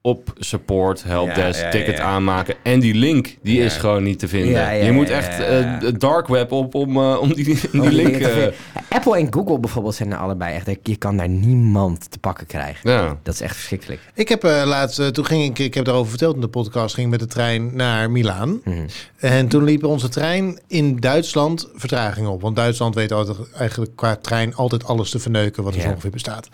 Speaker 3: op support, helpdesk,
Speaker 1: Ja, ja, ja,
Speaker 3: ticket
Speaker 1: ja.
Speaker 3: aanmaken. En die link, die is gewoon niet te vinden.
Speaker 1: Ja, ja,
Speaker 3: je moet
Speaker 1: ja, ja,
Speaker 3: echt
Speaker 1: ja.
Speaker 3: eh, het dark web op om, eh, om die, om die
Speaker 1: Om
Speaker 3: link...
Speaker 1: dingen te
Speaker 3: eh,
Speaker 1: vinden. Apple en Google bijvoorbeeld zijn er allebei echt. Je kan daar niemand te pakken krijgen.
Speaker 3: ja.
Speaker 1: Dat is echt verschrikkelijk.
Speaker 2: Ik heb eh, laatst, eh, toen ging ik, ik heb daarover verteld in de podcast, ging ik met de trein naar Milaan.
Speaker 1: Mhm.
Speaker 2: En toen liep onze trein in Duitsland vertraging op. Want Duitsland weet altijd, eigenlijk qua trein altijd alles te verneuken wat er
Speaker 1: Ja.
Speaker 2: zo ongeveer bestaat.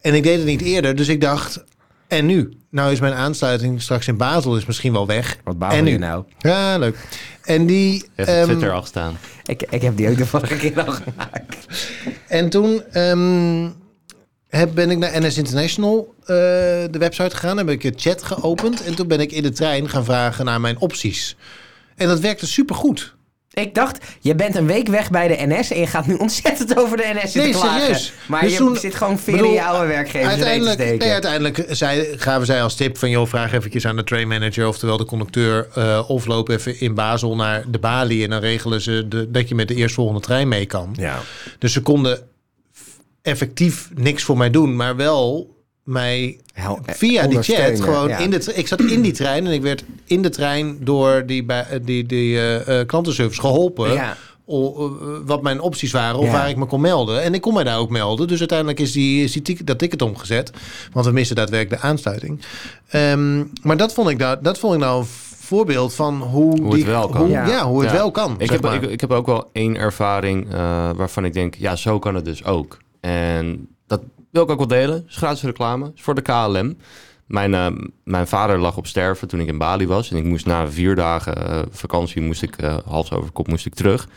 Speaker 2: En ik deed het niet eerder, dus ik dacht, en nu? Nou is mijn aansluiting straks in Basel is misschien wel weg.
Speaker 1: Wat
Speaker 2: En
Speaker 1: baal
Speaker 2: nu?
Speaker 1: je nou?
Speaker 2: Ja, leuk. En die...
Speaker 3: Je hebt op
Speaker 2: ehm,
Speaker 3: Twitter al gestaan.
Speaker 1: Ik, ik heb die ook de vorige keer al gemaakt.
Speaker 2: En toen ehm, heb, ben ik naar NS International, eh, de website gegaan. Heb ik het chat geopend. En toen ben ik in de trein gaan vragen naar mijn opties. En dat werkte supergoed.
Speaker 1: Ik dacht, je bent een week weg bij de NS en je gaat nu ontzettend over de NS zitten
Speaker 2: Nee,
Speaker 1: klagen.
Speaker 2: serieus.
Speaker 1: Maar
Speaker 2: Dus
Speaker 1: je
Speaker 2: toen-
Speaker 1: zit gewoon veel
Speaker 2: bedoel,
Speaker 1: in je oude werkgever
Speaker 2: uiteindelijk,
Speaker 1: te steken.
Speaker 2: nee, uiteindelijk eh, zei, gaven zij als tip van... joh, vraag eventjes aan de train manager, oftewel de conducteur... eh, of loop even in Basel naar de balie... en dan regelen ze de, dat je met de eerstvolgende trein mee kan.
Speaker 1: ja.
Speaker 2: Dus ze konden f- effectief niks voor mij doen, maar wel mij
Speaker 1: Hel- eh,
Speaker 2: Nou, via die chat
Speaker 1: ondersteunen,
Speaker 2: gewoon
Speaker 1: ja.
Speaker 2: in de tre- ik zat in die trein en ik werd in de trein door die bij die die eh, eh, klantenservice geholpen
Speaker 1: Ja.
Speaker 2: o- eh, wat mijn opties waren of
Speaker 1: Ja.
Speaker 2: waar ik me kon melden en ik kon mij daar ook melden dus uiteindelijk is die, is die tic- dat ticket omgezet want we misten daadwerkelijk de aansluiting Ehm, maar dat vond ik nou dat vond ik nou een voorbeeld van hoe,
Speaker 3: het
Speaker 2: die,
Speaker 3: wel kan.
Speaker 2: hoe- ja.
Speaker 1: Ja.
Speaker 2: hoe het
Speaker 3: Ja.
Speaker 2: wel kan
Speaker 3: Ik
Speaker 2: zeg
Speaker 3: heb,
Speaker 2: maar.
Speaker 3: ik, ik heb ook wel één ervaring eh, waarvan ik denk, ja, zo kan het dus ook. En dat wil ik ook wel delen. Is gratis reclame. Is voor de KLM. Mijn, eh, mijn vader lag op sterven toen ik in Bali was. En ik moest na vier dagen eh, vakantie, moest ik eh, hals over kop, moest ik terug.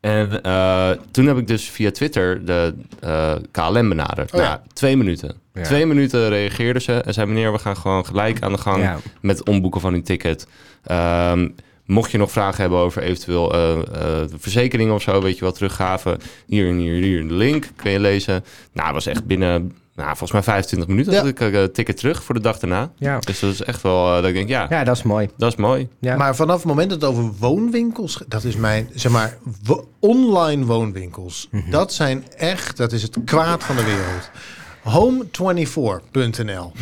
Speaker 3: En eh, toen heb ik dus via Twitter de eh, KLM benaderd.
Speaker 2: Oh ja.
Speaker 3: Nou, twee minuten.
Speaker 1: Ja.
Speaker 3: Twee minuten reageerden ze en zei meneer, we gaan gewoon gelijk aan de gang
Speaker 1: Ja.
Speaker 3: met omboeken van uw ticket. Ehm, mocht je nog vragen hebben over eventueel eh, eh, verzekeringen of zo, weet je wel, teruggaven. Hier en hier, en hier een link, kun je lezen. Nou, het was echt binnen, nou, volgens mij 25 minuten
Speaker 2: Ja.
Speaker 3: had ik eh, ticket terug voor de dag daarna.
Speaker 1: Ja.
Speaker 3: Dus dat is echt wel, eh, dat ik denk, ja,
Speaker 1: ja, dat is mooi.
Speaker 3: dat is mooi.
Speaker 1: Ja.
Speaker 2: Maar vanaf het moment dat het over woonwinkels gaat, dat is mijn, zeg maar, wo- online woonwinkels.
Speaker 1: Mhm.
Speaker 2: Dat zijn echt, dat is het kwaad van de wereld. Home24.nl.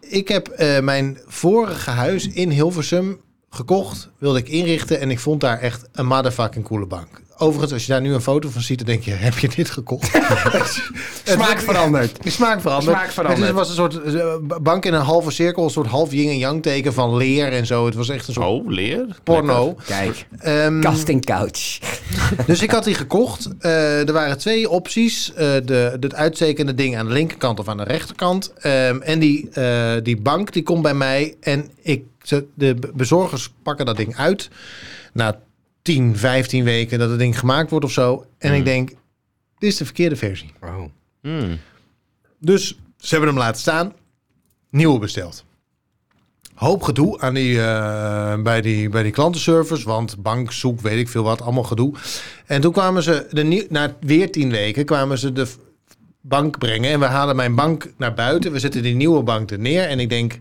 Speaker 2: Ik heb eh, mijn vorige huis in Hilversum gekocht, wilde ik inrichten en ik vond daar echt een motherfucking coole bank. Overigens, als je daar nu een foto van ziet, dan denk je, heb je dit gekocht?
Speaker 1: Smaak veranderd.
Speaker 2: De smaak veranderd.
Speaker 1: Smaak veranderd.
Speaker 2: Het is- was een soort eh, bank in een halve cirkel, een soort half yin en yang teken van leer en zo. Het was echt een soort
Speaker 3: Oh, leer.
Speaker 2: porno.
Speaker 1: Kijk,
Speaker 2: Ehm,
Speaker 1: casting couch.
Speaker 2: dus ik had die gekocht. Eh, er waren twee opties. Eh, de, het uitstekende ding aan de linkerkant of aan de rechterkant. Ehm, en die, eh, die bank die komt bij mij. En ik, ze- de be- bezorgers pakken dat ding uit. Na 10, 15 weken dat het ding gemaakt wordt of zo. En ik denk, dit is de verkeerde versie.
Speaker 3: Hmm.
Speaker 2: Dus ze hebben hem laten staan. Nieuwe besteld. Hoop gedoe aan die, eh, bij, die, bij die klantenservice. Want bank, zoek, weet ik veel wat. Allemaal gedoe. En toen kwamen ze, de nieuw, na weer tien weken, kwamen ze de f- bank brengen. En we halen mijn bank naar buiten. We zetten die nieuwe bank er neer. En ik denk,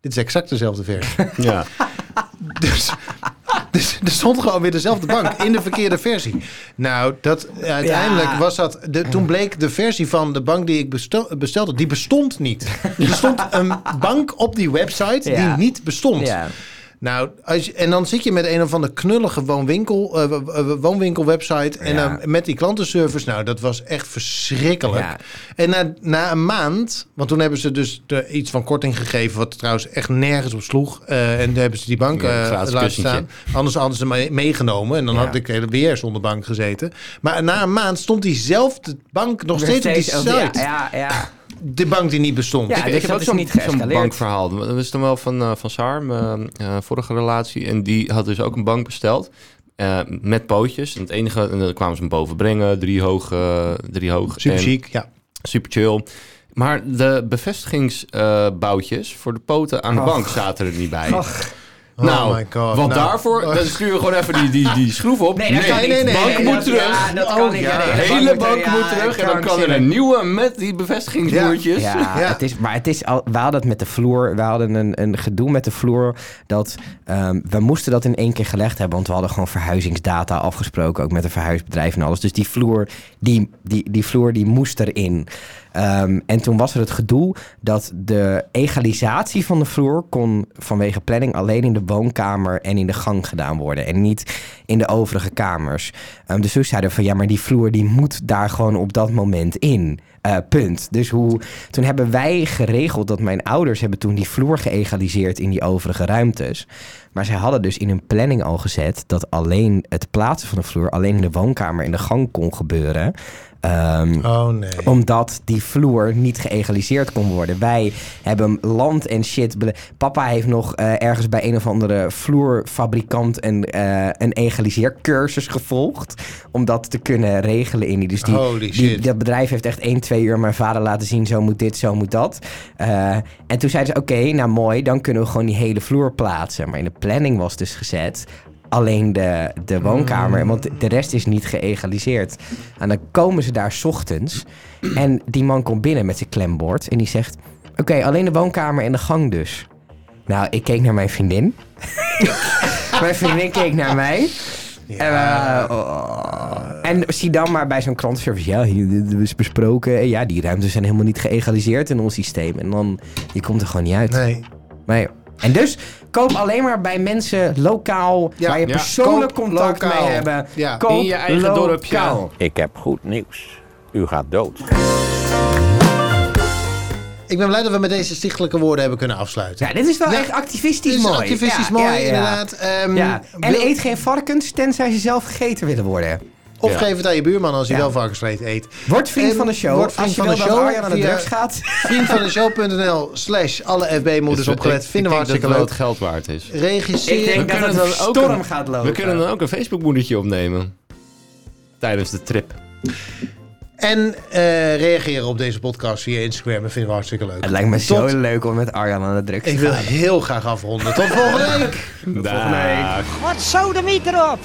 Speaker 2: Dit is exact dezelfde vers.
Speaker 3: Ja.
Speaker 2: dus, dus er stond gewoon weer dezelfde bank in de verkeerde versie. Nou, dat, uiteindelijk
Speaker 1: Ja.
Speaker 2: was dat... De, toen bleek de versie van de bank die ik bestel- bestelde, die bestond niet. Er stond een bank op die website
Speaker 1: Ja.
Speaker 2: die niet bestond.
Speaker 1: Ja.
Speaker 2: Nou, als je- en dan zit je met een of andere knullige woonwinkel, eh, wo- eh, woonwinkelwebsite. En
Speaker 1: Ja.
Speaker 2: dan met die klantenservice. Nou, dat was echt verschrikkelijk.
Speaker 1: Ja.
Speaker 2: En na, na een maand, want toen hebben ze dus de, iets van korting gegeven. Wat trouwens echt nergens op sloeg. eh, en toen hebben ze die bank
Speaker 3: Ja, een
Speaker 2: eh,
Speaker 3: gratis
Speaker 2: laten
Speaker 3: kussentje.
Speaker 2: staan. Anders hadden ze me- meegenomen. En dan
Speaker 1: Ja.
Speaker 2: had ik hele weer zonder bank gezeten. Maar na een maand stond diezelfde bank nog steeds op die site.
Speaker 1: ja, ja, ja.
Speaker 2: De bank die niet bestond.
Speaker 1: Ja. dus dat is niet geëscaleerd.
Speaker 3: bankverhaal. Dat is dan wel van, eh, van Saar, mijn eh, vorige relatie. En die had dus ook een bank besteld. eh, met pootjes. En het enige, en dan kwamen ze hem boven brengen. Drie hoog. eh, drie hoog.
Speaker 2: Super
Speaker 3: En-
Speaker 2: chic, ja.
Speaker 3: Super chill. Maar de bevestigingsboutjes voor de poten aan de bank zaten er niet bij. Nou,
Speaker 2: Oh my God.
Speaker 3: want
Speaker 2: Nou.
Speaker 3: daarvoor, dan stuur je gewoon even die, die, die schroef op.
Speaker 1: Nee, dat kan
Speaker 2: nee,
Speaker 1: niet.
Speaker 2: nee,
Speaker 3: bank
Speaker 2: nee,
Speaker 3: moet
Speaker 1: dat-
Speaker 3: terug.
Speaker 1: Ja, dat kan
Speaker 2: Oh,
Speaker 1: niet.
Speaker 2: ja.
Speaker 1: Ja,
Speaker 3: De
Speaker 1: de
Speaker 3: hele bank moet
Speaker 1: ja,
Speaker 3: terug. En dan kan er
Speaker 1: krankzinnig.
Speaker 3: een nieuwe met die bevestigingsboertjes.
Speaker 1: Ja,
Speaker 2: Ja.
Speaker 1: Het is, maar het is al, we hadden het met de vloer. We hadden een, een gedoe met de vloer. Dat ehm, we moesten dat in één keer gelegd hebben. Want we hadden gewoon verhuizingsdata afgesproken. Ook met een verhuisbedrijf en alles. Dus die vloer, die, die, die vloer, die moest erin. Ehm, en toen was er het gedoe dat de egalisatie van de vloer kon vanwege planning alleen in de woonkamer en in de gang gedaan worden. En niet in de overige kamers. Ehm, dus toen zeiden we van ja, maar die vloer die moet daar gewoon op dat moment in. Eh, punt. Dus hoe, toen hebben wij geregeld dat mijn ouders hebben toen die vloer geëgaliseerd in die overige ruimtes. Maar zij hadden dus in hun planning al gezet dat alleen het plaatsen van de vloer alleen in de woonkamer en de gang kon gebeuren. Ehm,
Speaker 2: Oh nee.
Speaker 1: omdat die vloer niet geëgaliseerd kon worden. Wij hebben land en shit. bele- Papa heeft nog eh, ergens bij een of andere vloerfabrikant een, eh een egaliseercursus gevolgd. Om dat te kunnen regelen in die. Dus die,
Speaker 2: Holy
Speaker 1: die-
Speaker 2: shit.
Speaker 1: dat bedrijf heeft echt 1, 2 uur mijn vader laten zien. Zo moet dit, zo moet dat. Eh, en toen zeiden ze: Oké, nou mooi. Dan kunnen we gewoon die hele vloer plaatsen. Maar in de planning was dus gezet. Alleen de, de
Speaker 2: Mm.
Speaker 1: woonkamer, want de rest is niet geëgaliseerd. En dan komen ze daar 's ochtends. En die man komt binnen met zijn klembord. En die zegt: Oké, alleen de woonkamer en de gang dus. Nou, ik keek naar mijn vriendin. mijn vriendin keek naar mij. En, we, oh. en zie dan maar bij zo'n klantenservice. Ja, hier dit is besproken. En ja, die ruimtes zijn helemaal niet geëgaliseerd in ons systeem. En dan, je komt er gewoon niet uit.
Speaker 2: Nee.
Speaker 1: Nee. En dus koop alleen maar bij mensen lokaal,
Speaker 2: Ja,
Speaker 1: waar je
Speaker 3: ja.
Speaker 1: persoonlijk
Speaker 2: Koop
Speaker 1: contact
Speaker 2: lokaal.
Speaker 1: mee hebben.
Speaker 2: Ja.
Speaker 1: Koop
Speaker 3: In je eigen
Speaker 1: lokaal.
Speaker 3: dorpje.
Speaker 4: Ik heb goed nieuws. U gaat dood.
Speaker 2: Ik ben blij dat we met deze stichtelijke woorden hebben kunnen afsluiten.
Speaker 1: Ja, dit is wel
Speaker 2: Nee,
Speaker 1: echt activistisch
Speaker 2: Dit is
Speaker 1: mooi.
Speaker 2: activistisch
Speaker 1: Ja,
Speaker 2: mooi,
Speaker 1: ja, ja.
Speaker 2: inderdaad. Ehm,
Speaker 1: Ja. En
Speaker 2: wil-
Speaker 1: eet geen varkens, tenzij ze zelf gegeten willen worden.
Speaker 2: Of
Speaker 3: Ja.
Speaker 2: geef het aan je buurman als hij
Speaker 1: Ja.
Speaker 2: wel varkensvlees eet.
Speaker 1: Word vriend
Speaker 2: En
Speaker 1: van de show.
Speaker 2: word vriend
Speaker 1: Als je
Speaker 2: van
Speaker 1: wil
Speaker 2: de
Speaker 1: dat
Speaker 2: show
Speaker 1: Arjan aan de
Speaker 2: via-
Speaker 1: drugs gaat.
Speaker 2: Vriendvandeshow.nl slash alle FB-moeders
Speaker 3: Dus
Speaker 2: opgelet.
Speaker 3: ik-
Speaker 2: Vinden we
Speaker 3: ik denk
Speaker 2: hartstikke
Speaker 3: dat
Speaker 2: leuk.
Speaker 3: het wel het geld waard is.
Speaker 2: Regisseer.
Speaker 1: Ik denk dat
Speaker 3: We kunnen
Speaker 1: het
Speaker 3: dan ook
Speaker 1: storm
Speaker 3: een-
Speaker 1: gaat lopen.
Speaker 3: We kunnen dan ook een Facebook-moedertje opnemen. Tijdens de trip.
Speaker 2: En eh, reageren op deze podcast via Instagram. Dat vinden we hartstikke leuk.
Speaker 1: Het lijkt me
Speaker 2: Tot-
Speaker 1: zo leuk om met Arjan aan de drugs
Speaker 2: Ik
Speaker 1: te
Speaker 2: wil
Speaker 1: gaan.
Speaker 2: heel graag afronden. Tot volgende week.
Speaker 3: Daag.
Speaker 6: Wat sodemiet erop!